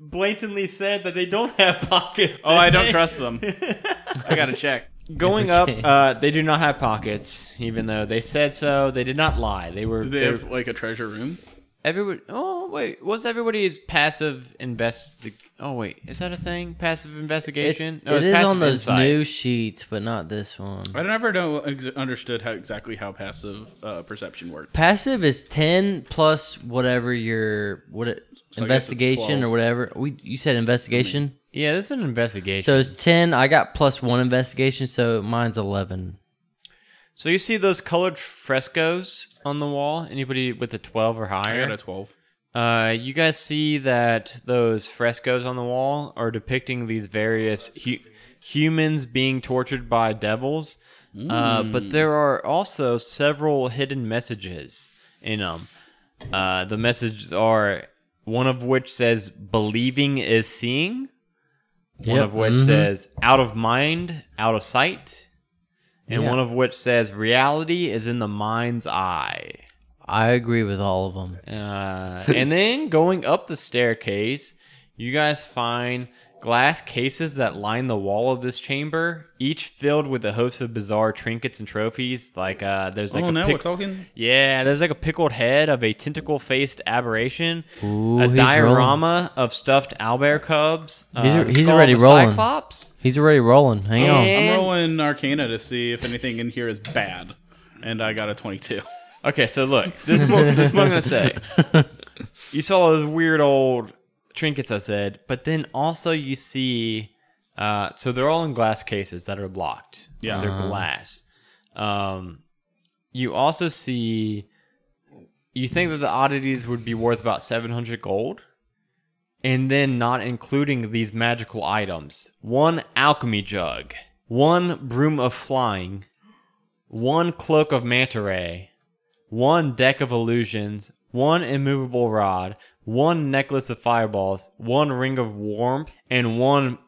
S2: blatantly said that they don't have pockets.
S4: Oh, I don't trust them. I gotta check.
S2: Going up, uh, they do not have pockets, even though they said so. They did not lie. They were.
S4: Do they have like a treasure room?
S2: Everybody. Oh wait, was everybody's passive investig? Oh wait, is that a thing? Passive
S5: It,
S2: investigation?
S5: it
S2: it's
S5: is
S2: passive
S5: on those
S2: insight.
S5: new sheets, but not this one.
S4: I never know ex- understood how exactly how passive uh, perception worked.
S5: Passive is ten plus whatever your what
S4: I
S5: it,
S4: guess it's
S5: investigation
S4: 12.
S5: or whatever. We you said investigation,
S2: Yeah, this is an investigation.
S5: so it's ten. I got plus one investigation, so mine's eleven.
S2: So you see those colored frescoes on the wall? Anybody with a 12 or
S4: I
S2: higher?
S4: got a twelve.
S2: Uh, you guys see that those frescoes on the wall are depicting these various hu- humans being tortured by devils, uh,
S5: Hmm.
S2: but there are also several hidden messages in them. Uh, the messages are one of which says "believing is seeing," one
S5: Yep,
S2: of which
S5: mhm.
S2: says "out of mind, out of sight," and
S5: Yeah.
S2: one of which says "reality is in the mind's eye."
S5: I agree with all of them.
S2: Uh, and then going up the staircase, you guys find glass cases that line the wall of this chamber, each filled with a host of bizarre trinkets and trophies. Like uh, there's like
S4: oh,
S2: a
S4: now
S2: pic-
S4: we're talking.
S2: yeah, there's like a pickled head of a tentacle-faced aberration,
S5: Ooh,
S2: a
S5: he's
S2: diorama of stuffed owlbear cubs.
S5: He's-
S2: uh, the
S5: he's
S2: skull of
S5: already
S2: a
S5: rolling.
S2: Cyclops.
S5: He's already rolling. Hang on.
S2: And-
S4: I'm rolling Arcana to see if anything in here is bad, and I got a twenty-two.
S2: Okay, so look, this is what, this is what I'm gonna say. You saw those weird old trinkets I said, but then also you see, uh, so they're all in glass cases that are locked.
S4: Yeah.
S2: they're glass. Um, you also see, you think that the oddities would be worth about 700 gold, and then not including these magical items: one alchemy jug, one broom of flying, one cloak of manta ray one deck of illusions, one immovable rod, one necklace of fireballs, one ring of warmth, and one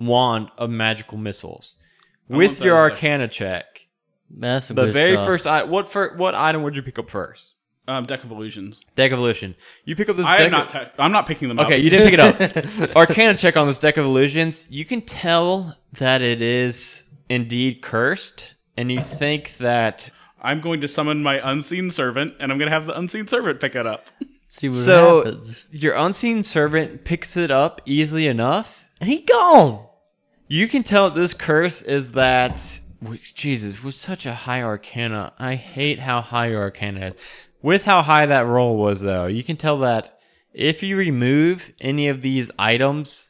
S2: wand of magical missiles. With your
S4: those.
S2: arcana check,
S5: That's some
S2: the
S5: good
S2: very
S5: stuff.
S2: first item, what fir- what item would you pick up first?
S4: Um, deck of illusions.
S2: Deck of illusion. You pick up this
S4: I
S2: deck
S4: am not.
S2: of-
S4: i I'm not picking them up.
S2: Okay, you didn't pick it up. Arcana check on this deck of illusions. You can tell that it is indeed cursed, and you think that
S4: I'm going to summon my unseen servant, and I'm going to have the unseen servant pick it up.
S5: See what
S2: So
S5: happens.
S2: your unseen servant picks it up easily enough.
S5: And he gone.
S2: You can tell this curse is that with- Jesus with such a high arcana. I hate how high your arcana is. With how high that roll was, though, you can tell that if you remove any of these items,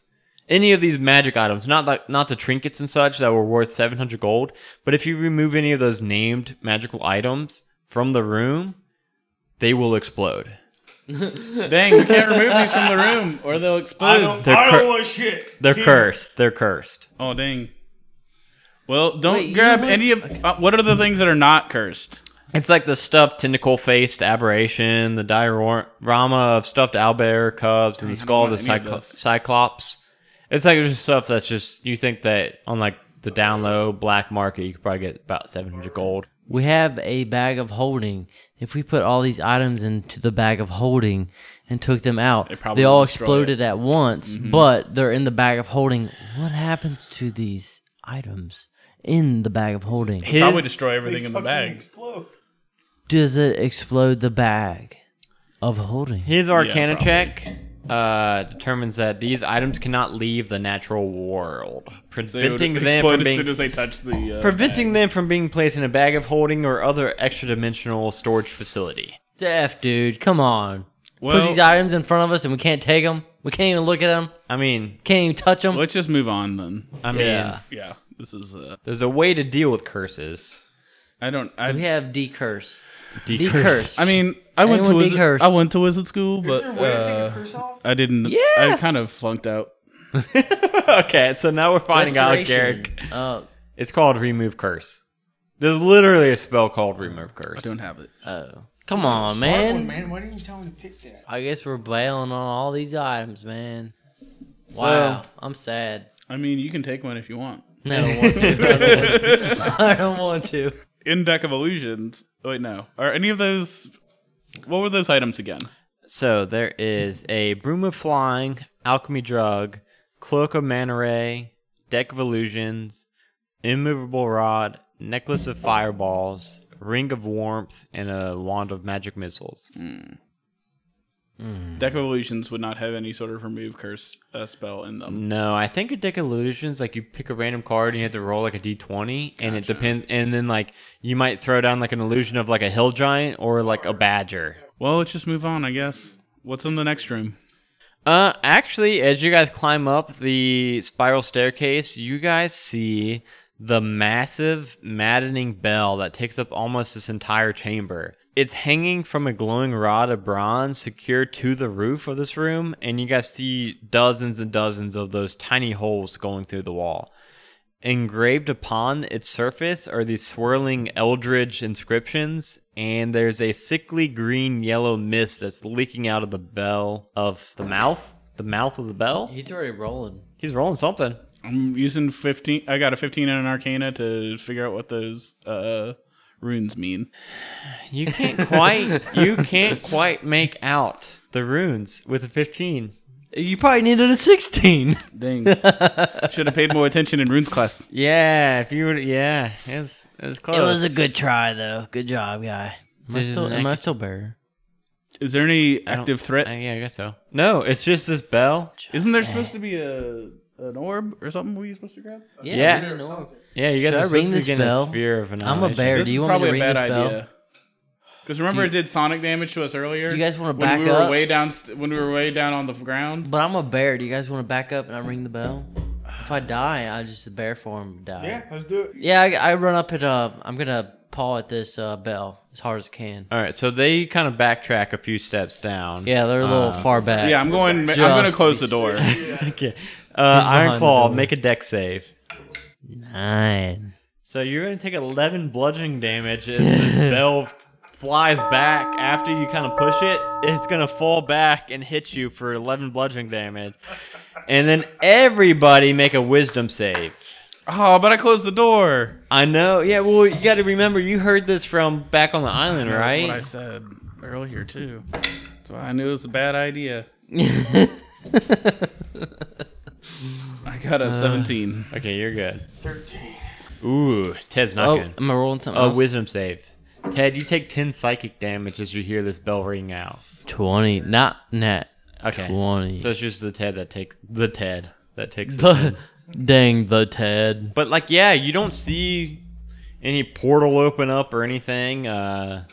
S2: any of these magic items, not the, not the trinkets and such that were worth seven hundred gold, but if you remove any of those named magical items from the room, they will explode.
S4: Dang, we can't remove these from the room, or they'll
S6: I
S4: explode.
S6: don't,
S2: They're
S6: I
S2: cur-
S6: don't want shit.
S2: They're cursed. They're cursed.
S4: Oh dang. Well, don't
S5: Wait, you
S4: grab
S5: know what?
S4: any of. Uh, what are the things that are not cursed?
S2: It's like the stuffed tentacle faced aberration, the diorama of stuffed owlbear cubs, and the skull of the
S4: I need
S2: cyclo-
S4: this.
S2: cyclops. It's like just stuff that's just you think that on like the down low black market you could probably get about seven hundred gold.
S5: We have a bag of holding. If we put all these items into the bag of holding and took them out,
S4: probably
S5: they all
S4: will destroy Mm-hmm.
S5: exploded at once, but they're in the bag of holding. What happens to these items in the bag of holding?
S2: His,
S4: Probably destroy everything in the
S6: Fucking
S4: bag.
S6: Explode.
S5: Does it explode the bag of holding?
S2: his arcana
S4: probably.
S2: check uh, determines that these items cannot leave the natural world,
S4: They would
S2: preventing them
S4: explode
S2: from
S4: as
S2: being
S4: soon as they touch the. Uh,
S2: preventing them from being placed in a bag of holding or other extra dimensional storage facility.
S5: Def, dude, come on.
S4: Well-
S5: Put these items in front of us and we can't take them. We can't even look at them.
S2: I mean,
S5: Can't even touch them.
S4: Let's just move on then.
S2: I mean.
S5: Yeah.
S4: Yeah, this is. Uh,
S2: There's a way to deal with curses.
S4: I don't.
S5: We
S4: I,
S5: have decurse.
S2: Decurse.
S5: Decurse.
S4: I mean, I went to
S5: Anyone be
S4: wizard,
S5: cursed.
S4: I went to wizard school, but uh,
S6: curse off?
S4: I didn't.
S5: Yeah.
S4: I kind of flunked out.
S2: okay, so now we're finding out,
S5: Restoration.
S2: Garrick.
S5: Oh,
S2: It's called Remove Curse. There's literally a spell called Remove Curse.
S4: I don't have it.
S5: oh. Come on, man.
S6: man, why didn't you tell me to pick that?
S5: I guess we're bailing on all these items, man. Wow, I'm sad.
S4: I mean, you can take one if you want.
S5: No, I don't want to. I don't want to.
S4: In deck of illusions. Wait, no. Are any of those? What were those items again?
S2: So there is a Broom of Flying, Alchemy Drug, Cloak of Manta Ray, Deck of Illusions, Immovable Rod, Necklace of Fireballs, Ring of Warmth, and a Wand of Magic Missiles.
S4: Deck of illusions would not have any sort of remove curse uh, spell in them.
S2: No, I think a Deck of Illusions, like you pick a random card and you have to roll like a d20, and it depends. And then like you might throw down like an illusion of like a hill giant or like a badger.
S4: Well, let's just move on, I guess. What's in the next room?
S2: Uh, actually, as you guys climb up the spiral staircase, you guys see the massive, maddening bell that takes up almost this entire chamber. It's hanging from a glowing rod of bronze secured to the roof of this room, and you guys see dozens and dozens of those tiny holes going through the wall. Engraved upon its surface are these swirling eldritch inscriptions, and there's a sickly green yellow mist that's leaking out of the bell of the mouth. The mouth of the bell?
S5: He's already rolling.
S2: He's rolling something.
S4: I'm using 15. I got a 15 and an arcana to figure out what those uh, runes mean.
S2: You can't quite you can't quite make out the runes with a fifteen.
S5: You probably needed a 16.
S4: Dang. Should have paid more attention in runes class.
S2: Yeah, if you were yeah, it was, it was close.
S5: It was a good try, though. Good job, guy. Am I still, am I still bear?
S4: Is there any
S2: I don't-
S4: active threat?
S2: uh, yeah, I guess so. No, it's just this bell.
S4: Isn't there supposed to be a an orb or something we supposed to grab?
S2: Yeah.
S5: I know.
S2: Yeah, you guys
S5: Should I
S2: are supposed
S5: ring
S2: to be
S5: this
S2: getting a
S5: bell?
S2: sphere of
S5: I'm a
S2: annihilation.
S5: bear. Do you want me to ring this bell?
S4: Because remember, it did sonic damage to us earlier.
S5: Do you guys wanna
S4: when
S5: back
S4: we were
S5: up?
S4: Way down st- when we were way down on the ground.
S5: But I'm a bear. Do you guys want to back up and I ring the bell? If I die, I just bear form die.
S6: Yeah, let's do it.
S5: Yeah, I, I run up at uh, I'm gonna paw at this uh, bell as hard as I can.
S2: All right, so they kind of backtrack a few steps down.
S5: Yeah, they're a little
S2: Uh,
S5: far back.
S4: Yeah, I'm going. I'm
S5: Just
S4: going to
S5: be
S4: close the door.
S2: okay. Uh,
S5: behind
S2: Iron
S5: the
S2: Claw,
S5: building?
S2: make a deck save.
S5: Nine.
S2: So you're going to take 11 bludgeoning damage as this bell f- flies back. After you kind of push it, it's going to fall back and hit you for 11 bludgeoning damage. And then everybody make a wisdom save.
S4: oh, but I closed the door.
S2: I know. Yeah, well, you got to remember you heard this from back on the island,
S4: That's what I
S2: right?
S4: said earlier too. So I knew it was a bad idea.
S5: Oh,
S4: I got a 17.
S2: Okay, you're good. 13. Ooh, Ted's not
S5: Oh,
S2: good.
S5: am I rolling something?
S2: A
S5: else?
S2: wisdom save. Ted, you take 10 psychic damage as you hear this bell ring out.
S5: twenty, not net
S2: Okay.
S5: twenty.
S2: So it's just the Ted that takes the Ted that takes the
S5: the, dang the Ted.
S2: But like yeah, you don't see any portal open up or anything. Uh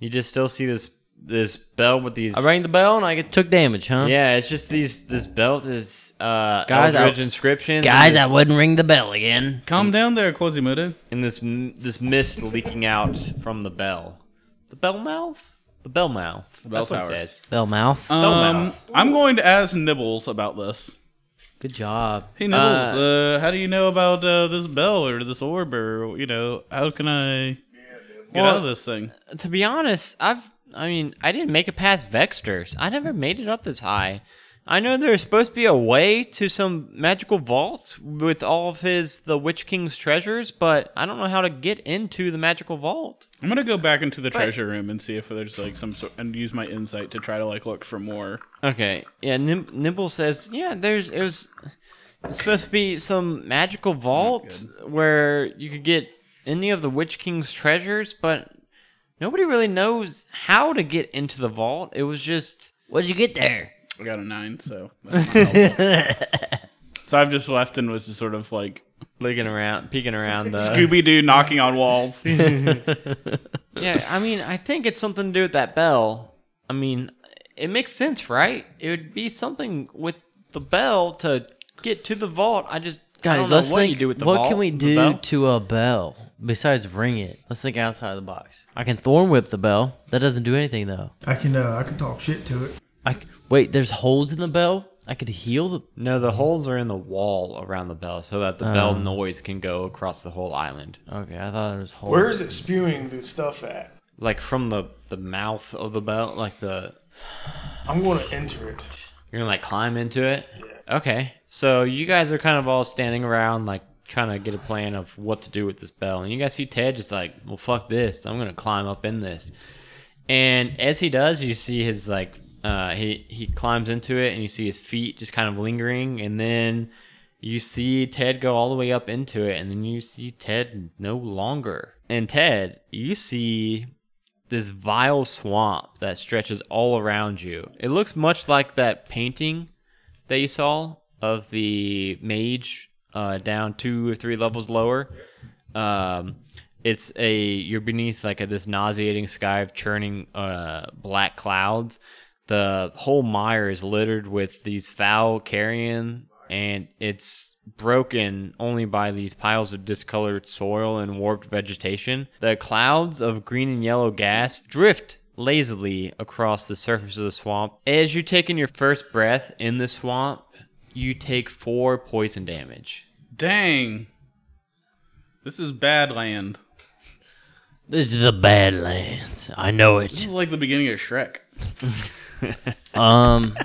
S2: you just still see this this bell with these
S5: I rang the bell and I get, took damage, huh?
S2: Yeah, it's just these this belt is uh
S5: Guys, I-
S2: eldritch inscriptions
S5: Guys,
S2: and
S5: I
S2: this,
S5: wouldn't ring the bell again.
S4: Calm down there, Quasimodo.
S2: and this m- this mist leaking out from the bell. The bell mouth? The bell mouth.
S4: bell
S2: That's what
S4: tower.
S2: it says.
S5: Bell mouth.
S2: Bell
S4: Um,
S2: mouth.
S4: I'm going to ask Nibbles about this.
S5: Good job.
S4: Hey Nibbles, uh, how do you know about uh, this bell or this orb or you know how can I get out of this thing?
S2: to be honest, I've I mean, I didn't make it past Vexters. I never made it up this high. I know there's supposed to be a way to some magical vaults with all of his the Witch King's treasures, but I don't know how to get into the magical vault.
S4: I'm gonna go back into the treasure room and see if there's like some sort and use my insight to try to like look for more.
S2: Okay. Yeah, Nim- Nimble says, "Yeah, there's it was it's supposed to be some magical vault where you could get any of the Witch King's treasures, but nobody really knows how to get into the vault. It was just
S5: What'd you get there?
S4: I got a nine, so that's not helpful. so I've just left and was just sort of like
S2: looking around, peeking around uh, the
S4: Scooby Doo knocking on walls.
S2: Yeah, I mean, I think it's something to do with that bell. I mean, it makes sense, right? It would be something with the bell to get to the vault. I just I
S5: Guys,
S2: don't know
S5: let's
S2: what
S5: think.
S2: you do with the
S5: what
S2: vault,
S5: can we
S2: the
S5: do
S2: bell.
S5: to a bell? besides ring it. Let's think outside the box. I can thorn whip the bell. That doesn't do anything though.
S6: I can uh, I can talk shit to it.
S5: I c- wait. There's holes in the bell. I could heal the.
S2: No, the holes are in the wall around the bell so that the bell noise can go across the whole island.
S5: Okay, I thought there was holes.
S6: Where is it spewing the stuff at?
S2: Like from the the mouth of the bell, like the
S6: I'm going to enter it.
S2: you're gonna like climb into it. Okay, so you guys are kind of all standing around like trying to get a plan of what to do with this bell, and you guys see Ted just like, well, fuck this, I'm gonna climb up in this. And as he does, you see his like uh, he he climbs into it, and you see his feet just kind of lingering, and then you see Ted go all the way up into it, and then you see Ted no longer. And Ted, you see this vile swamp that stretches all around you. It looks much like that painting that you saw of the mage uh, down two or three levels lower. Um, it's a you're beneath like a, this nauseating sky of churning uh, black clouds. The whole mire is littered with these foul carrion, and it's broken only by these piles of discolored soil and warped vegetation. The clouds of green and yellow gas drift lazily across the surface of the swamp. As you take in your first breath in the swamp, you take four poison damage.
S4: Dang. This is bad land.
S5: This is the Badlands. I know
S4: This
S5: it.
S4: is like the beginning of Shrek.
S5: Um,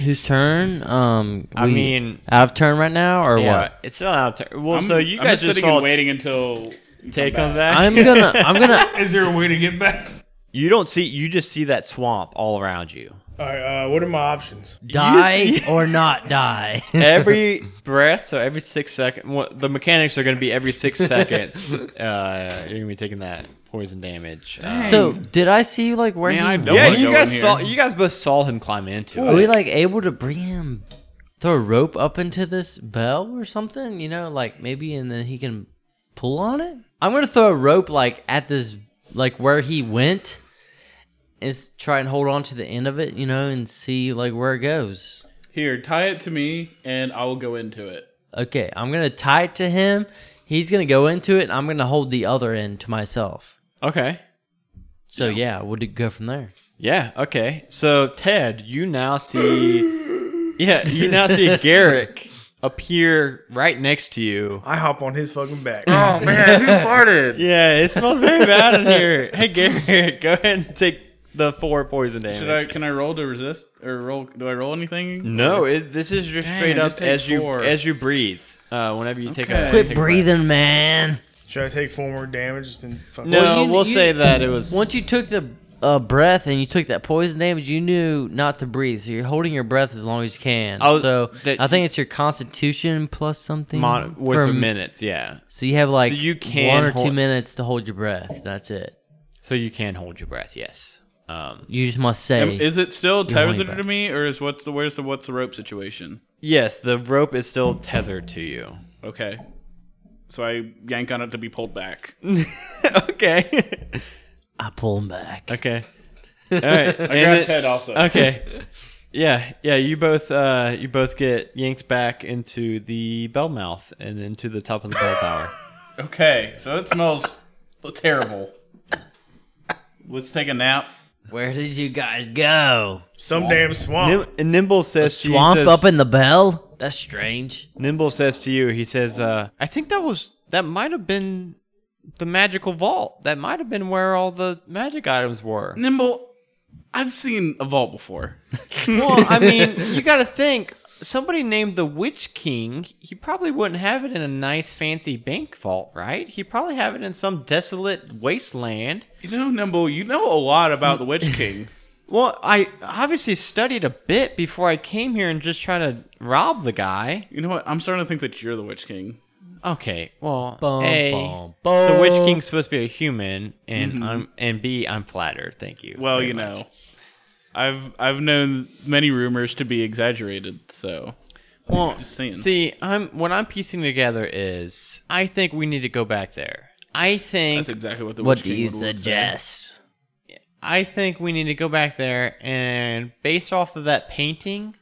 S5: whose turn? Um,
S2: I
S5: we-
S2: mean-
S5: out of turn right now or what?
S2: It's still out of turn. Well,
S4: I'm-
S2: so you
S4: I'm
S2: guys just
S4: sitting
S2: saw
S4: and waiting until
S2: Ted comes back.
S5: I'm gonna. I'm gonna.
S6: Is there a way to get back?
S2: you don't see. You just see that swamp all around you.
S6: All right, uh, what are my options?
S5: die or not die.
S2: every breath, so every six seconds, the mechanics are going to be every six seconds. Uh, you're going to be taking that poison damage. Uh,
S5: so did I see you like where
S4: Man,
S5: he
S4: I don't
S5: was?
S2: yeah,
S4: wanna
S2: you
S4: go in
S2: guys
S4: here.
S2: saw. You guys both saw him climb into
S5: Are
S2: it.
S5: we like able to bring him throw a rope up into this bell or something? You know, like maybe and then he can pull on it? I'm gonna throw a rope like at this like where he went and s- try and hold on to the end of it, you know, and see like where it goes.
S4: Here, tie it to me and I will go into it.
S5: Okay, I'm gonna tie it to him. He's gonna go into it and I'm gonna hold the other end to myself.
S2: Okay.
S5: So yeah, we'll do- go from there.
S2: Yeah. Okay. So Ted, you now see. yeah, you now see Garrick appear right next to you.
S6: I hop on his fucking back.
S4: Oh man, who farted?
S2: Yeah, it smells very bad in here. Hey, Garrick, go ahead and take the four poison damage.
S4: Should I can I roll to resist or roll do I roll anything?
S2: No, it, this is just straight
S4: I
S2: up
S4: just take
S2: as you
S4: four.
S2: as you breathe. Uh, whenever you take
S4: Okay.
S2: a
S4: Quit
S2: take a breath.
S5: Breathing, man.
S6: Should I take four more damage? It's been fucking
S2: No,
S5: Well, you-
S2: we'll
S5: you-
S2: say that it was.
S5: Once you took the uh, breath and you took that poison damage, you knew not to breathe. So you're holding your breath as long as you can.
S2: Oh,
S5: so
S2: that-
S5: I think it's your constitution plus something
S2: mon- worth
S5: for
S2: of
S5: m-
S2: minutes, yeah.
S5: So you have like
S2: So you can
S5: one or two
S2: hold-
S5: minutes to hold your breath. That's it.
S2: So you can hold your breath, yes. Um,
S5: You just must say.
S4: Am- Is it still tethered
S5: back.
S4: to me or is what's the where's the what's the rope situation?
S2: yes, the rope is still tethered to you.
S4: Okay. So I yank on it to be pulled back.
S2: okay.
S5: I pull him back.
S2: okay. All right.
S4: I
S2: and
S4: grabbed
S2: it-
S4: Ted also.
S2: okay. Yeah, yeah. You both, uh, you both get yanked back into the bell mouth and into the top of the bell tower.
S4: Okay, so it smells terrible. Let's take a nap.
S5: Where did you guys go?
S6: some damn swamp.
S2: Nim- and Nimble says, to you,
S5: Swamp
S2: says-
S5: up in the bell? That's strange.
S2: Nimble says to you, he says, uh, I think that was, that might have been the magical vault. That might have been where all the magic items were.
S4: Nimble, I've seen a vault before.
S2: Well, I mean, you got to think somebody named the Witch King, he probably wouldn't have it in a nice fancy bank vault, right? He'd probably have it in some desolate wasteland.
S4: You know, Nimble, you know a lot about the Witch King.
S2: Well, I obviously studied a bit before I came here and just try to rob the guy.
S4: You know what? I'm starting to think that you're the Witch King.
S2: Okay, well,
S5: Bum,
S2: A,
S5: bum,
S2: the Witch
S5: bum. Mm-hmm.
S2: King's supposed to be a human, and I'm and B, I'm flattered. Thank you.
S4: Well,
S2: very
S4: you
S2: much.
S4: know, I've I've known many rumors to be exaggerated. So
S2: Well,
S4: Just saying.
S2: see, I'm what I'm piecing together is I think we need to go back there. I think
S4: that's exactly what the
S5: What
S4: Witch
S5: do
S4: King
S5: you
S4: would- would say.
S5: suggest?
S2: I think we need to go back there and based off of that painting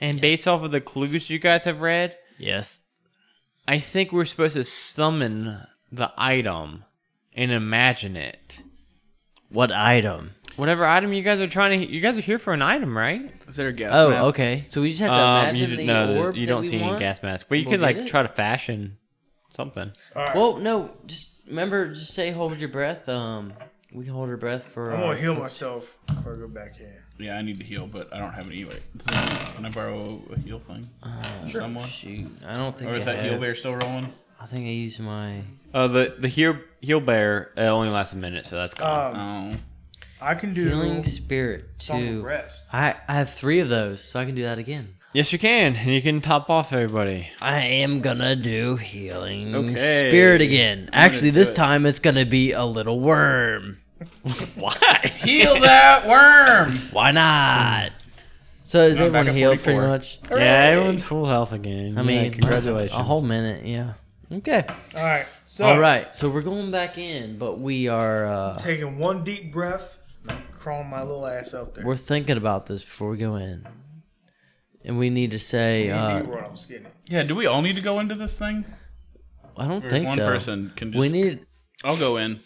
S2: and based off of the clues you guys have read,
S5: Yes.
S2: I think we're supposed to summon the item and imagine it.
S5: What item?
S2: Whatever item you guys are trying to, you guys are here for an item, right?
S4: Is there a gas
S5: Oh,
S4: mask?
S5: okay. So we just have to
S2: Um, you,
S5: imagine
S2: d-
S5: the
S2: no, there's-
S5: orb
S2: you
S5: that
S2: don't
S5: we
S2: see
S5: want.
S2: any gas masks, but you
S5: We'll
S2: could like
S5: get it.
S2: try to fashion something.
S5: Well, no, just remember, just say hold your breath. Um, we can hold our breath for.
S6: I'm
S5: uh,
S6: gonna heal myself before I go back in.
S4: Yeah, I need to heal, but I don't have any. Wait, does anyone- can I borrow a heal thing?
S5: Uh,
S4: Sure. Someone?
S5: Shoot, I don't think.
S4: Or is
S5: I
S4: that heal
S5: have-
S4: bear still rolling?
S5: I think I used my.
S2: Uh, the the heel heel bear it only lasts a minute, so that's
S5: Uh,
S2: gone.
S6: Um,
S4: Oh,
S6: I can do
S5: Healing spirit
S6: some
S5: two.
S6: rest.
S5: I I have three of those, so I can do that again.
S2: yes, you can, and you can top off everybody.
S5: I am gonna do healing
S4: Okay.
S5: spirit again. Actually,
S4: do
S5: this
S4: it.
S5: time it's gonna be a little worm.
S2: Why?
S4: heal that worm.
S5: Why not? So is
S4: I'm back
S5: everyone
S4: at
S5: healed pretty
S4: 44.
S5: much?
S2: yeah, everyone's full health again.
S5: I mean,
S2: congratulations.
S5: A whole minute, yeah. Okay.
S6: All right. So
S5: All right. So we're going back in, but we are uh,
S6: taking one deep breath, and I'm crawling my little ass out there.
S5: we're thinking about this before we go in, and we need to say
S6: You
S5: uh,
S6: knew what I was getting. at.
S4: Yeah, do we all need to go into this thing?
S5: I don't
S4: Or
S5: think
S4: one
S5: so.
S4: person can just.
S5: we need.
S4: I'll go in.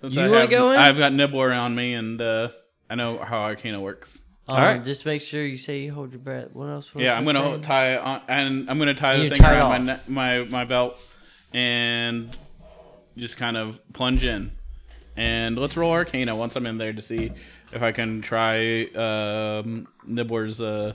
S4: Since
S5: You
S4: I
S5: wanna
S4: have-
S5: go in?
S4: I've got Nibbler on me, and uh, I know how Arcana works.
S5: Um,
S2: right.
S5: Just make sure you say you hold your breath. What else? was
S4: Yeah,
S5: I
S4: I'm gonna
S5: saying?
S4: ho- tie on, and I'm gonna tie
S5: And
S4: the
S5: you
S4: thing
S5: tie it
S4: around my,
S5: off.
S4: ne- my my belt, and just kind of plunge in. And let's roll Arcana once I'm in there to see if I can try um, Nibbler's. Uh...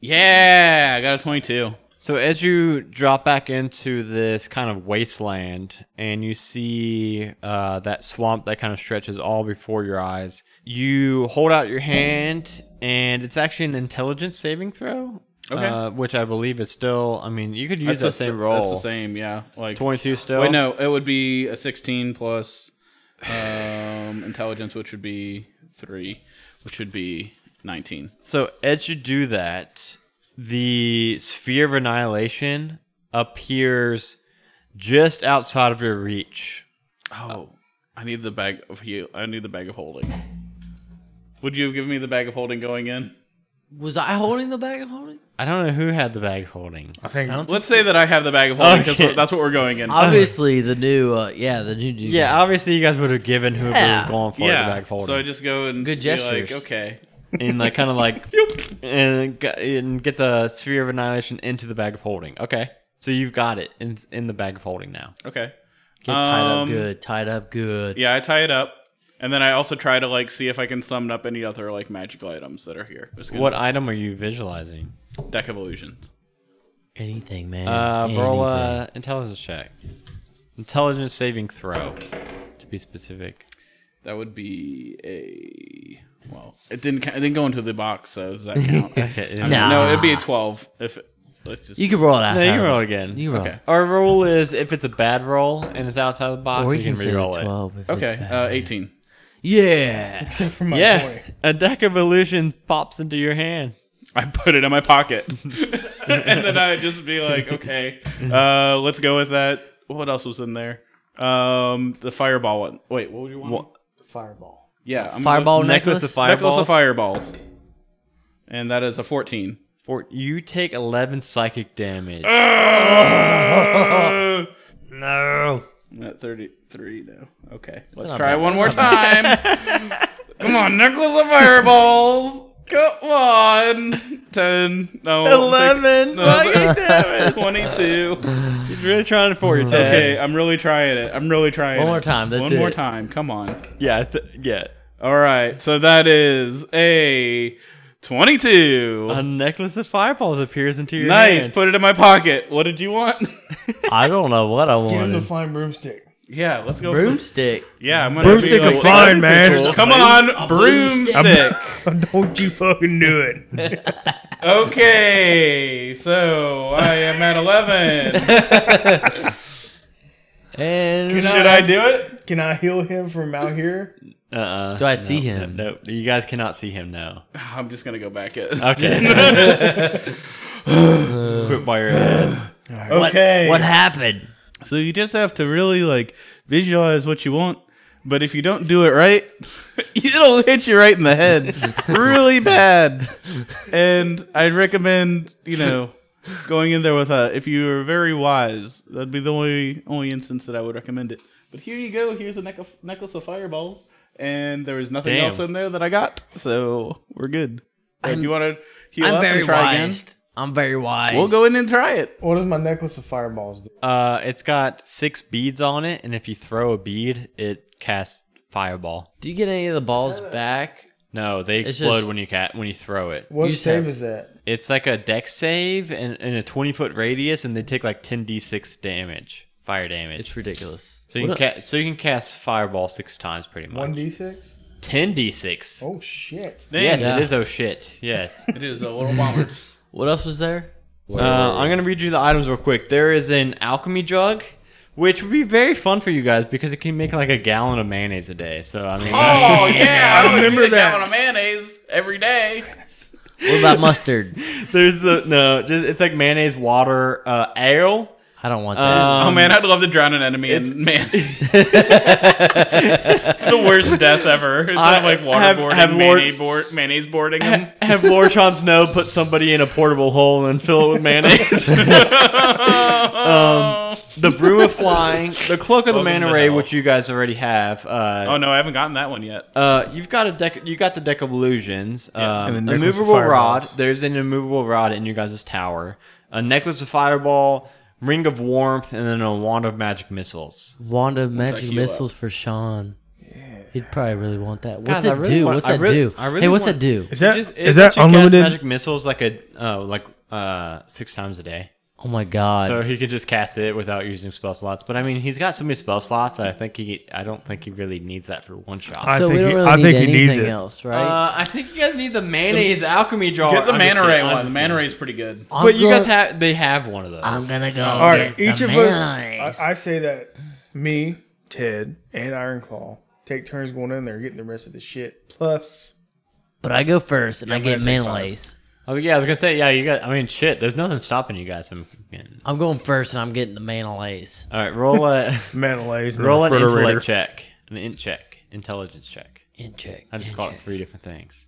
S4: Yeah, I got a 22.
S2: So as you drop back into this kind of wasteland and you see uh, that swamp that kind of stretches all before your eyes, you hold out your hand and it's actually an intelligence saving throw,
S4: Okay.
S2: uh, which I believe is still. I mean, you could use
S4: the
S2: that same
S4: s-
S2: roll.
S4: That's the same. Yeah, like
S2: Twenty-two still.
S4: Wait, no, it would be a 16 plus um, intelligence, which would be three, which would be 19.
S2: So as you do that, the sphere of annihilation appears just outside of your reach. Uh,
S4: Oh, I need the bag of heal. I need the bag of holding. Would you have given me the bag of holding going in?
S5: Was I holding the bag of holding?
S2: I don't know who had the bag holding.
S6: I think
S4: Let's say that I have the bag of holding because
S2: Okay.
S4: that's what we're going in.
S5: Obviously, the new. Uh, yeah, the new dude.
S2: Yeah, obviously you guys would have given whoever
S5: Yeah.
S2: was going for the
S4: yeah.
S2: bag folding.
S4: So I just go and
S5: Good
S4: be like,
S5: gestures.
S4: okay.
S2: and like kind of like and, g- and get the sphere of annihilation into the bag of holding. Okay, so you've got it in in the bag of holding now.
S4: Okay.
S5: Get tied
S4: Um,
S5: up good. Tied up good.
S4: Yeah, I tie it up. And then I also try to like see if I can summon up any other like magical items that are here. It's gonna
S2: What item are you visualizing?
S4: be deck of illusions?
S5: Anything, man.
S2: Uh,
S5: Anything.
S2: roll a intelligence check. Intelligence saving throw, to be specific.
S4: That would be a well. It didn't. ca- It didn't go into the box, so does that count?
S2: Okay,
S4: I mean,
S5: Nah.
S4: No, it'd be a twelve. If let's just
S5: You can roll it out.
S2: No, you can roll again.
S5: You can roll.
S4: Okay.
S2: Our rule is if it's a bad roll and it's outside the box,
S5: Or
S2: you
S5: you
S2: can
S5: can say
S2: re-roll it.
S5: 12 if
S4: okay.
S5: it's bad.
S4: Uh, Eighteen.
S5: Yeah.
S6: from my
S2: Yeah,
S6: point.
S2: a deck of illusion pops into your hand.
S4: I put it in my pocket, and then I'd just be like, okay, uh, let's go with that. What else was in there? Um, the fireball one. Wait, what would you want?
S6: Fireball.
S4: Yeah, I'm
S5: Fireball
S4: gonna-
S5: necklace?
S2: Necklace of
S4: Oh, necklace
S2: fireballs.
S4: of fireballs, and that is a fourteen.
S2: For you take eleven psychic damage.
S6: No.
S4: I'm at 33 now. Okay. Let's
S5: not
S4: try
S5: bad.
S4: it one more time. Come on, Knuckles of Fireballs. Come on. 10. No. I'm
S2: Eleven psychic
S4: taking-
S2: damage.
S4: 22.
S2: He's really trying for you, Ted.
S4: Okay, I'm really trying it. I'm really trying
S5: One
S4: it.
S5: more time, that's
S4: one more
S5: it.
S4: time. Come on.
S2: Yeah, I th- yeah.
S4: All right. So that is a 22.
S2: A necklace of fireballs appears into your hand.
S4: nice. Put it in my pocket. What did you want?
S5: I don't know what I
S6: Give him the
S5: wanted.
S6: flying broomstick.
S4: yeah, let's go. for-
S5: Broomstick.
S4: Yeah, I'm going to be
S6: Broomstick
S4: like,
S6: of fine, man.
S4: Come on, broomstick.
S6: Don't you fucking do it.
S4: Okay, so I am at 11.
S5: And
S4: Should I do it?
S6: Can I heal him from out here?
S2: Uh-uh.
S5: do I see
S2: No,
S5: him?
S2: No, no, you guys cannot see him now.
S4: I'm just going to go back it.
S2: Okay. Quit by your head.
S5: What, what happened?
S4: So you just have to really like visualize what you want, but if you don't do it right, it'll hit you right in the head really bad. And I recommend, you know, Going in there with a, if you were very wise, that'd be the only only instance that I would recommend it. But here you go. Here's a neck- necklace of fireballs, and there was nothing
S2: Damn.
S4: else in there that I got, so we're good. So if
S5: I'm-
S4: you want to heal
S5: I'm
S4: up
S5: very
S4: and try
S5: wise. I'm very wise.
S4: again, we'll go in and try it.
S6: What does my necklace of fireballs do?
S2: Uh, it's got six beads on it, and if you throw a bead, it casts fireball.
S5: Do you get any of the balls back?
S2: No, they
S5: It's
S2: explode
S5: just-
S2: when you cat when you throw it.
S6: What
S5: You
S6: save
S5: said-
S6: is that?
S2: It's like a deck save and in a twenty foot radius, and they take like ten d six damage, fire damage.
S5: It's ridiculous.
S2: so you can ca- so you can cast fireball six times, pretty much.
S6: One d six.
S2: Ten d six.
S6: Oh shit!
S2: Yes,
S5: Yeah.
S2: it is. Oh shit. Yes.
S4: It is a little bomber.
S5: What else was there?
S2: Uh, I'm gonna read you the items real quick. There is an alchemy jug, which would be very fun for you guys because it can make like a gallon of mayonnaise a day. So I mean,
S4: oh yeah, I remember that. On a mayonnaise every day.
S5: What about mustard?
S2: there's the no, just it's like mayonnaise, water, uh, ale.
S5: I don't want that.
S4: Oh
S2: Um,
S4: man, I'd love to drown an enemy. in man, the worst death ever. It's
S2: I-
S4: not like
S2: have-
S4: waterboarding,
S2: have Lord-
S4: mayonnaise, board, mayonnaise boarding him.
S2: Have Lord Jon Snow put somebody in a portable hole and fill it with mayonnaise. um, the brew of flying, the cloak of the
S4: Welcome
S2: manta
S4: to
S2: ray,
S4: hell.
S2: which you guys already have. Uh,
S4: Oh no, I haven't gotten that one yet.
S2: Uh, you've got a deck. You got the deck of illusions. Um,
S6: And the necklace of
S2: immovable rod.
S6: fireballs.
S2: There's an immovable rod in your guys' tower. A necklace of fireball, ring of warmth, and then a wand of magic missiles.
S5: Wand of magic
S4: heal up.
S5: missiles for Sean. He'd probably really want that. What's
S2: God, I
S5: that
S2: really
S5: do?
S2: want-
S5: what's
S2: I
S5: that
S2: really-
S5: do?
S2: I really
S5: hey, what's
S2: want-
S5: that do?
S6: Is that
S2: It
S6: is
S2: just- it lets
S6: that
S2: you cast
S6: unlimited?
S2: magic missiles like a uh, like uh six times a day.
S5: Oh my god.
S2: So he could just cast it without using spell slots. But I mean, he's got so many spell slots. I think he. I don't think he really needs that for one shot.
S6: I
S5: so we
S6: think
S5: don't
S6: he-
S5: really
S6: I
S5: need
S6: think he
S5: anything
S6: needs it.
S5: else, right?
S2: uh, I think you guys need the mayonnaise alchemy jar.
S4: Get the
S2: I'm just
S4: manta ray
S2: kidding, I'm
S4: one. The
S2: just
S4: manta
S2: kidding.
S4: ray's pretty good.
S5: I'm
S2: But you
S5: gonna-
S2: guys have. They have one of those.
S5: I'm gonna go.
S2: Oh,
S6: All right,
S5: get
S6: each
S5: the
S6: of
S5: mayonnaise.
S6: us. I, I say that me, Ted, and Ironclaw take turns going in there getting the rest of the shit. Plus,
S5: But I go first, and I
S4: gonna
S5: get
S4: take five.
S5: mayonnaise.
S2: Oh yeah, I was gonna say yeah. You got. I mean, shit. There's nothing stopping you guys from. Getting...
S5: I'm going first, and I'm getting the mayonnaise.
S2: All right, roll a
S6: Menelays, and
S2: roll an
S6: Refrigerator.
S2: intellect check, an int check, intelligence check.
S5: And check.
S2: I just call it three different things.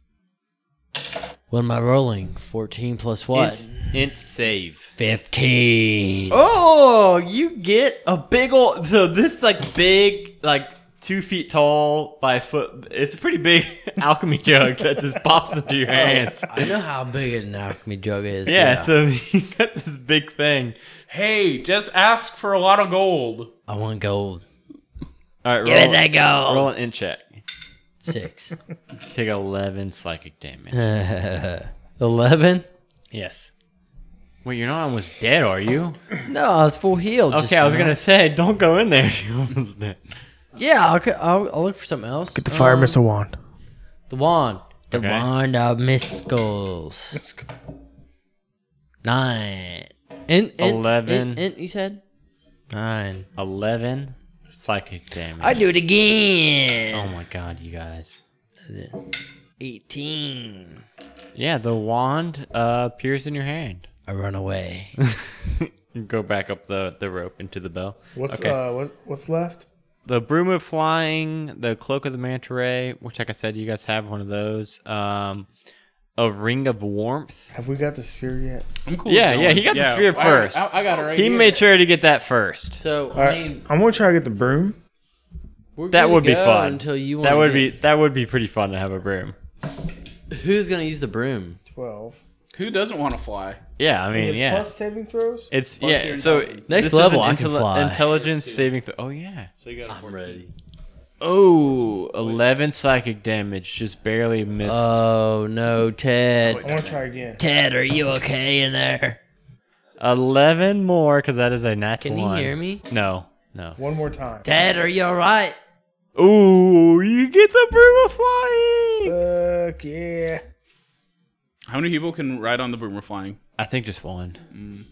S5: What am I rolling? 14 plus what?
S2: Int, int save.
S5: 15.
S2: Oh, you get a big old. So this like big like. Two feet tall by a foot. It's a pretty big alchemy jug that just pops into your hands.
S5: Oh, I know how big an alchemy jug is.
S2: Yeah, so you got this big thing.
S4: Hey, just ask for a lot of gold.
S5: I want gold.
S2: All right,
S5: Give it
S2: roll,
S5: that gold.
S2: roll an int check.
S5: Six.
S2: Take eleven psychic damage.
S5: Uh, 11?
S2: Yes. Wait, you're not almost dead, are you?
S5: No, I was full healed. just
S2: Okay, I was
S5: now.
S2: gonna say, don't go in there. You're almost dead.
S5: Yeah, I'll, I'll, I'll look for something else. Get
S6: The fire missile wand.
S5: The wand. The
S2: Okay.
S5: wand of mysticals. Nine. In, in,
S2: Eleven.
S5: In, in, you said? Nine.
S2: Eleven psychic damage.
S5: I do it again.
S2: oh my god, you guys.
S5: 18.
S2: Yeah, the wand uh, appears in your hand.
S5: I run away.
S2: Go back up the, the rope into the bell.
S6: What's
S2: Okay.
S6: uh, what, what's left?
S2: The broom of flying, the cloak of the manta ray, which, like I said, you guys have one of those. Um, a ring of warmth.
S6: Have we got the sphere yet?
S4: I'm cool.
S2: Yeah,
S4: with that
S2: yeah,
S4: one.
S2: he got the sphere
S4: I-
S2: first.
S4: I, I got it right.
S2: He
S4: here.
S2: made sure to get that first.
S5: So,
S6: All
S5: I
S6: right,
S5: mean,
S6: I'm gonna try to get the broom.
S5: we're
S2: That
S5: gonna
S2: would be
S5: go
S2: fun.
S5: Until you
S2: that
S5: wanna
S2: would be
S5: get-
S2: that would be pretty fun to have a broom.
S5: Who's going to use the broom?
S6: Twelve.
S4: Who doesn't want to fly?
S2: Yeah, I mean, yeah.
S6: Plus saving throws.
S2: It's
S4: Plus
S2: yeah.
S4: your
S2: So
S4: intelligence.
S5: Next
S2: this is
S5: level,
S2: an
S5: I can fly.
S2: Intelligence saving throw. Oh yeah.
S4: So you got. I'm ready.
S2: Oh, 11 psychic damage, just barely missed.
S5: Oh, no, Ted.
S6: I want to try again.
S5: Ted, are you okay in there?
S2: 11 more, because that is a nat
S5: Can
S2: one.
S5: you hear me?
S2: No, no.
S6: One more time.
S5: Ted, are you alright?
S2: Ooh, you get the broom of flying.
S6: Fuck yeah.
S4: How many people can ride on the boomer flying?
S2: I think just one.
S5: Mm.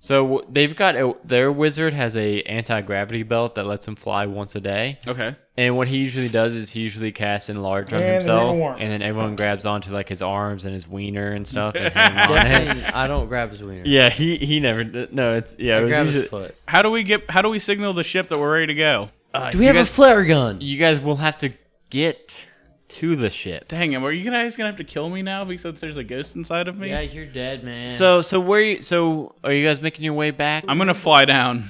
S2: So w- they've got a, their wizard has a anti gravity belt that lets him fly once a day.
S4: Okay.
S2: And what he usually does is he usually casts enlarge on
S6: And the
S2: himself,
S6: ring of warmth.
S2: and then everyone grabs onto like his arms and his wiener and stuff. And hang on it.
S5: Definitely, I don't grab his wiener.
S2: Yeah, he he never. did- No, it's yeah. It
S5: I
S2: was
S5: grab
S2: usually-
S5: his foot.
S4: How do we get? How do we
S2: Uh,
S4: signal the ship that we're ready to go?
S5: Do we have a flare gun?
S2: you guys will have to get to the ship.
S4: Dang it, are you guys gonna have to kill me now because there's a ghost inside of me?
S5: Yeah, you're dead, man.
S2: So so where you, so are you guys making your way back?
S4: I'm gonna fly down.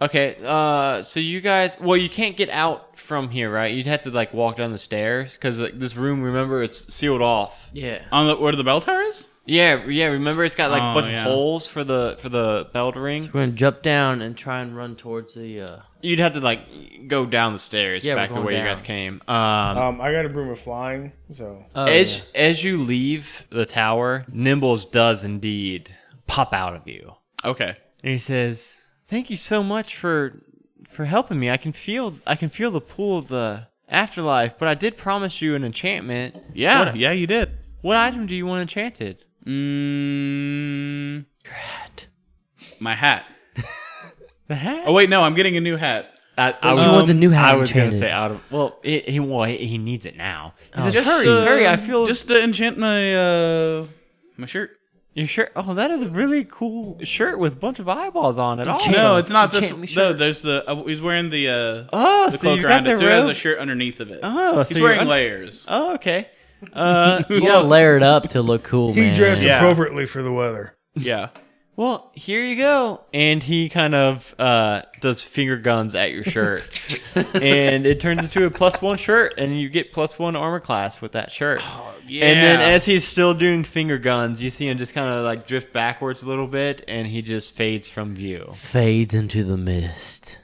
S2: Okay, uh, so you guys, well, you can't get out from here, right? You'd have to like walk down the stairs because like this room, remember, it's sealed off.
S5: yeah,
S4: On the where the bell tower is?
S2: Yeah, yeah. Remember, it's got like a
S4: Oh,
S2: bunch
S4: yeah.
S2: of holes for the for the bell to ring.
S5: we're gonna jump down and try and run towards the. uh
S2: You'd have to like go down the stairs
S5: Yeah, we're
S2: back the
S5: going
S2: way you guys
S5: down.
S2: came. Um,
S6: Um, I got a broom of flying, so
S5: oh,
S2: as
S5: yeah.
S2: as you leave the tower, Nimbles does indeed pop out of you,
S4: Okay.
S2: and he says, "Thank you so much for for helping me. I can feel I can feel the pull of the afterlife, but I did promise you an enchantment.
S4: Yeah,
S2: What-
S4: yeah, you did.
S2: What item do you want enchanted?
S4: Mm,
S5: Rat.
S4: my hat.
S2: The hat.
S4: Oh wait, no, I'm getting a new hat.
S2: I, I
S5: You want the new hat
S2: I was gonna
S5: enchanted.
S2: say out of well, it, he well he he needs it now. He says,
S4: Just,
S2: hurry,
S4: uh,
S2: hurry! I feel
S4: just to enchant my uh my shirt.
S2: your shirt. Oh, that is a really cool shirt with a bunch of eyeballs on it.
S5: Enchant-
S2: Oh,
S4: No, it's not this.
S5: Enchant me
S4: No,
S5: shirt.
S4: there's the uh, he's wearing the uh
S2: oh so
S4: the cloak
S2: you got
S4: around
S2: the
S4: it. So he has a
S2: robe?
S4: shirt underneath of it.
S2: Oh, so
S4: he's
S2: you're
S4: wearing
S2: un-
S4: layers.
S2: Oh, okay. Uh,
S5: You
S2: well,
S5: gotta layer it up to look cool,
S6: he
S5: man.
S6: dressed
S4: Yeah.
S6: appropriately for the weather.
S4: Yeah.
S2: well, here you go. And he kind of uh, does finger guns at your shirt, and it turns into a plus one shirt, and you get plus one armor class with that shirt. And then
S4: Yeah.
S2: as he's still doing finger guns, you see him just kind of like drift backwards a little bit, and he just fades from view.
S5: Fades into the mist.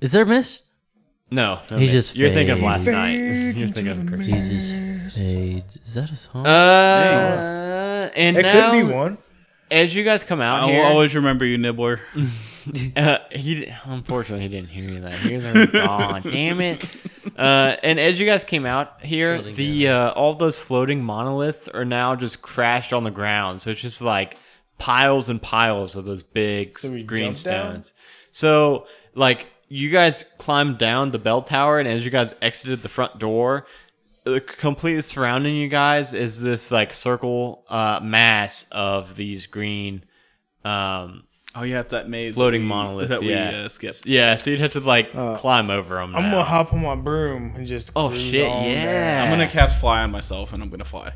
S5: Is there mist?
S2: No, no
S5: He
S2: miss.
S5: just
S2: you're thinking of last
S5: fades.
S2: night. You're thinking of Christmas.
S5: He just fades. Is that a song?
S2: Uh, and
S6: It
S2: now,
S6: could be one.
S2: as you guys come out
S4: I will
S2: here,
S4: always remember you, Nibbler.
S2: Uh, he di- unfortunately he didn't hear any of that. He was already gone. Damn it! Uh, and as you guys came out here,
S5: Still didn't
S2: the uh, all those floating monoliths are now just crashed on the ground. So it's just like piles and piles of those big
S6: we
S2: green
S6: jump down?
S2: stones. So like you guys climbed down the bell tower, and as you guys exited the front door. uh, Completely surrounding you guys is this like circle uh, mass of these green um,
S4: Oh yeah, it's that maze.
S2: floating
S4: that we-
S2: monoliths.
S4: that
S2: yeah,
S4: we uh, skipped.
S2: Yeah, so you'd have to like climb over them.
S6: I'm gonna hop on my broom and just.
S2: Oh
S6: cruise
S2: shit!
S6: on
S2: Yeah,
S6: down.
S4: I'm gonna cast fly on myself, and I'm gonna fly.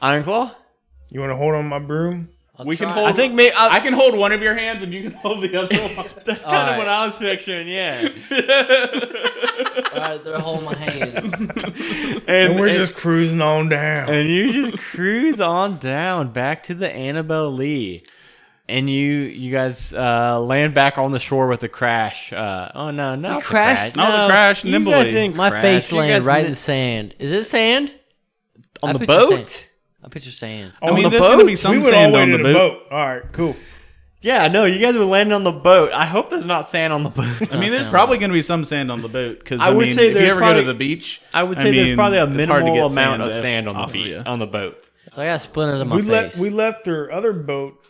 S2: Iron Claw.
S6: You want to hold on my broom?
S4: we can
S5: try.
S4: hold.
S2: I think maybe I,
S4: I can hold one of your hands, and you can hold the other one.
S2: that's kind of
S5: Alright.
S2: what I was picturing. Yeah,
S5: All right, they're holding my hands.
S6: And we're
S2: and-
S6: just cruising on down.
S2: and you just cruise on down back to the Annabelle Lee, and you you guys uh, land back on the shore with a crash. Uh, oh no, no
S5: crashed?
S2: No,
S4: Not the crash,
S2: you guys
S4: Nimble Lee.
S2: didn't
S5: My
S2: crash.
S5: face
S2: You
S5: landed
S2: guys
S5: right
S2: didn't-
S5: in the sand. Is it sand? I
S2: on the
S5: picture
S2: boat.
S5: sand. I picture sand.
S4: I mean,
S2: the
S4: there's gonna
S2: boat?
S4: be some
S6: we went all
S4: sand
S6: the way
S4: on
S6: to
S4: the boat.
S6: All right, cool.
S2: Yeah, no, you guys were landing on the boat. I hope there's not sand on the boat.
S4: I mean, there's probably going to be some sand on the boat because
S2: I
S4: I,
S2: would
S4: mean,
S2: say
S4: if you
S2: there's
S4: ever
S2: probably-
S4: go to the beach,
S2: I would say there's
S4: mean,
S2: probably a
S4: it's hard to
S2: minimal
S4: get
S2: amount of
S4: off-
S2: sand on
S4: off
S2: the
S4: of
S2: beat,
S4: you.
S2: on the boat.
S5: So I got splinted in my
S6: We
S5: face.
S6: left. We left her other boat.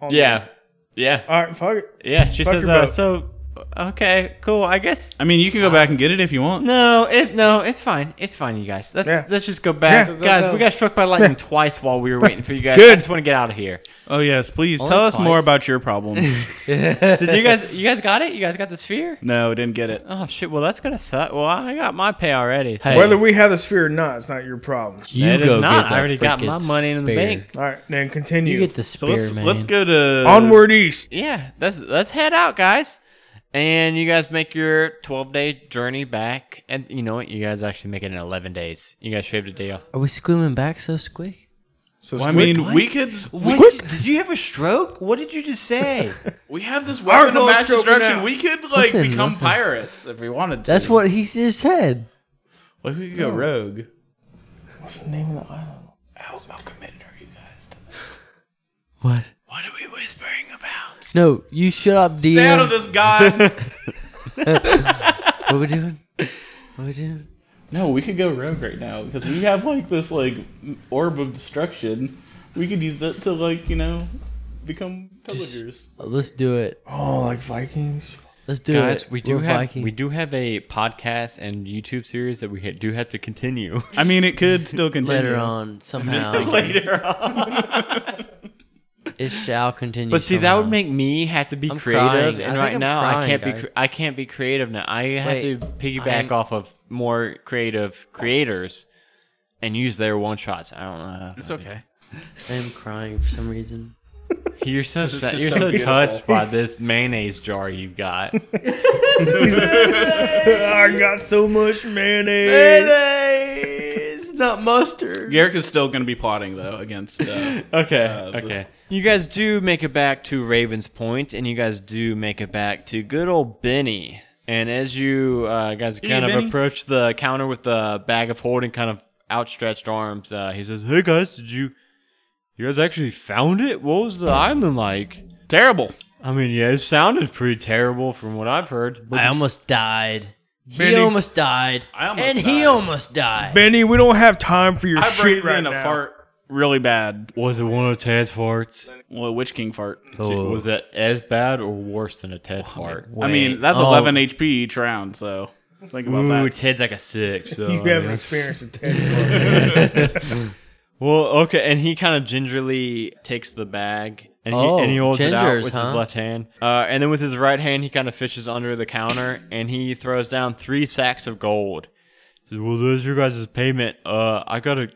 S6: On
S2: Yeah, yeah,
S6: The, all right, fuck it.
S2: yeah. She
S6: Fuck
S2: says,
S6: your
S2: uh,
S6: boat.
S2: "So, okay, cool. I guess."
S4: I mean, you can go back and get it if you want.
S2: No, it no, it's fine. It's fine, you guys. Let's
S6: Yeah.
S2: let's just go back,
S6: Yeah. Go,
S5: go,
S2: guys.
S5: go.
S2: We got struck by lightning twice while we were waiting for you guys. I
S6: Good.
S2: just want to get out of here.
S4: Oh yes, please
S5: Only
S4: tell us more
S5: twice.
S4: about your problem.
S2: Did you guys? You guys got it? You guys got the sphere?
S4: no, didn't get it.
S2: Oh shit! Well, that's gonna suck. Well, I got my pay already. So.
S5: Hey,
S6: Whether we have the sphere or not, it's not your problem.
S5: you
S2: That is
S5: go
S2: not.
S5: get
S2: I
S5: that
S2: already got
S5: freaking
S2: my money in the
S5: spear.
S2: bank.
S6: All right, then
S5: You
S6: continue.
S5: get the
S4: So
S5: spear,
S4: let's
S5: man.
S4: let's go to
S6: Onward east.
S2: Yeah, let's let's head out, guys. And you guys make your twelve day journey back, and you know what? You guys actually make it in eleven days. You guys shaved a day off.
S5: Are we squealing back so squick?
S6: So
S4: Well, I
S6: squid-
S4: mean, we could.
S2: What? Did you have a stroke? What did you just say?
S4: We have this
S6: Our
S4: weapon of
S6: goal's
S4: mass
S6: stroking
S4: destruction.
S6: out.
S4: We could like
S5: Listen,
S4: become
S5: listen.
S4: pirates if we wanted to.
S5: That's what he just said.
S4: Well, we could go rogue.
S6: what's the name of the island?
S5: What?
S4: What are we whispering about?
S5: No, you shut up, DM.
S4: Stay out of this, God.
S5: What we doing? What we doing?
S4: no, we could go rogue right now because we have like this like orb of destruction. We could use that to like you know become pillagers.
S5: Oh, let's do it.
S6: Oh, like Vikings.
S5: Let's do it.
S2: guys, we do
S5: We're
S2: have
S5: Vikings.
S2: we do have a podcast and YouTube series that we ha- do have to continue
S4: I mean, it could still continue.
S5: later on somehow.
S2: later on.
S5: It shall continue.
S2: But see, that would
S5: somehow.
S2: make me have to be
S5: I'm
S2: creative, and
S5: crying. I think
S2: right
S5: I'm
S2: now I
S5: crying,
S2: can't be.
S5: guys.
S2: Cre- I can't be creative now. I have
S5: Wait,
S2: to piggyback
S5: I'm-
S2: off of more creative creators and use their one shots. I don't know.
S4: It's okay.
S5: I'm crying for some reason.
S2: You're so sad.
S4: just
S2: you're
S4: so
S2: so,
S4: beautiful.
S2: touched by this mayonnaise jar you got.
S6: I got so much mayonnaise.
S2: it's not mustard.
S4: Garrick is still going to be plotting though against. Uh,
S2: Okay.
S4: Uh, this-
S2: okay. You guys do make it back to Ravens Point, and you guys do make it back to good old Benny. And as you uh, guys kind of
S4: Benny.
S2: approach the counter with the bag of holding, kind of outstretched arms, uh, he says, "Hey guys, did you? You guys actually found it? What was the island like?
S4: terrible.
S2: I mean, yeah, it sounded pretty terrible from what I've heard. But
S5: I almost died. He
S6: Benny.
S5: almost died.
S4: I almost
S5: and he
S4: died.
S5: almost died.
S6: Benny, we don't have time for your
S4: I
S6: shit
S4: breathed
S6: right
S4: in a
S6: now.
S4: fart really bad.
S2: was it one of Ted's farts?
S4: Well, Witch King fart.
S5: Oh,
S2: Was that as bad or worse than a Ted fart?
S4: I mean, that's
S5: Oh.
S4: 11 HP each round. So think about
S2: Ooh,
S4: that.
S2: Ted's like a six. So
S6: You
S2: I mean,
S6: haven't experienced a ten.
S2: Well, okay, and he kind of gingerly takes the bag and he,
S5: Oh,
S2: and he holds it out
S5: gingers,
S2: with his
S5: huh?
S2: left hand, uh, and then with his right hand he kind of fishes under the counter and he throws down three sacks of gold. He says, "Well, there's your guys' payment. Uh, I gotta,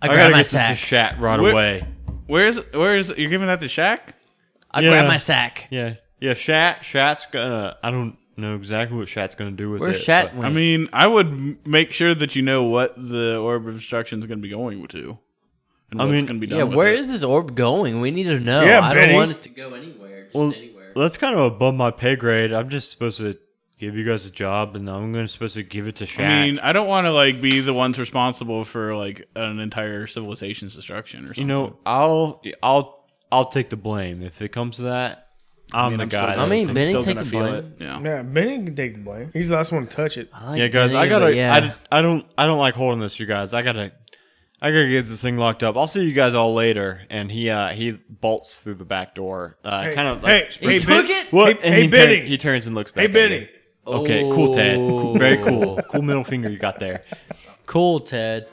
S2: I,
S5: grabbed
S2: gotta
S5: my
S2: get some
S5: sack.
S2: shat right
S4: Wh-
S2: away."
S4: Where is where is you're giving that to Shaq?
S5: I
S2: Yeah.
S5: grabbed my sack.
S2: Yeah, yeah. Shat, Shat's gonna. I don't know exactly what Shat's gonna do with
S5: Where's
S2: it.
S5: Shat
S2: but-
S5: went?
S4: I mean, I would m- make sure that you know what the orb of destruction is going to be going to, and
S2: I
S4: what's
S2: mean-
S4: going to be done.
S5: yeah,
S4: with
S5: where
S4: it.
S5: is this orb going? We need to know.
S6: Yeah,
S5: I
S6: Benny.
S5: don't want it to go anywhere. Just
S2: Well,
S5: anywhere.
S2: that's kind of above my pay grade. I'm just supposed to give you guys a job, and I'm gonna supposed to give it to Shat.
S4: I mean, I don't want to like be the ones responsible for like an entire civilization's destruction or something.
S2: you know, I'll I'll I'll take the blame if it comes to that. I'm
S4: mean,
S2: the
S4: I'm still
S2: guy.
S4: gonna-
S5: I mean,
S4: I'm
S5: Benny,
S4: still
S5: take
S4: gonna
S5: the
S4: feel
S5: blame.
S4: it, Yeah.
S6: yeah, Benny can take the blame. He's the last one to touch it.
S5: I like
S2: yeah, guys,
S5: Benny,
S2: I gotta.
S5: but Yeah.
S2: I, I don't I don't like holding this, you guys. I gotta I gotta get this thing locked up. I'll see you guys all later. And he uh he bolts through the back door. Uh,
S6: Hey,
S2: kind of
S6: hey,
S2: like
S6: hey,
S5: took
S6: Ben-
S5: it?
S2: what?
S6: Hey,
S2: and
S6: hey,
S2: he, turn-
S6: Benny.
S2: he turns and looks back.
S6: Hey,
S2: at
S6: Benny.
S2: you. Okay, cool, Ted. Cool, very cool.
S5: Oh.
S2: Cool middle finger you got there.
S5: cool, Ted.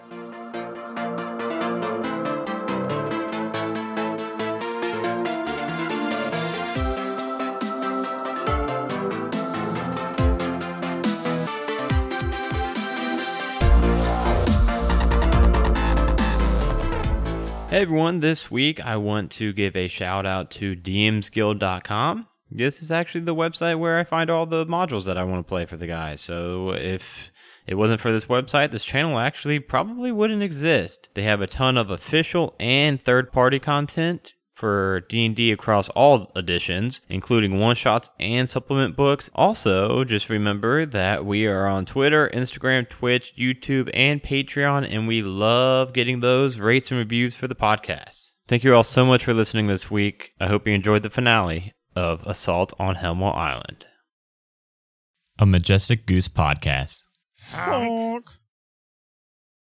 S8: Hey everyone, this week I want to give a shout out to dmsguild.com. This is actually the website where I find all the modules that I want to play for the guys. So if it wasn't for this website, this channel actually probably wouldn't exist. They have a ton of official and third-party content for D&D across all editions, including one-shots and supplement books. Also, just remember that we are on Twitter, Instagram, Twitch, YouTube, and Patreon, and we love getting those rates and reviews for the podcast. Thank you all so much for listening this week. I hope you enjoyed the finale of Assault on Helmwell Island. A Majestic Goose Podcast.
S6: Honk.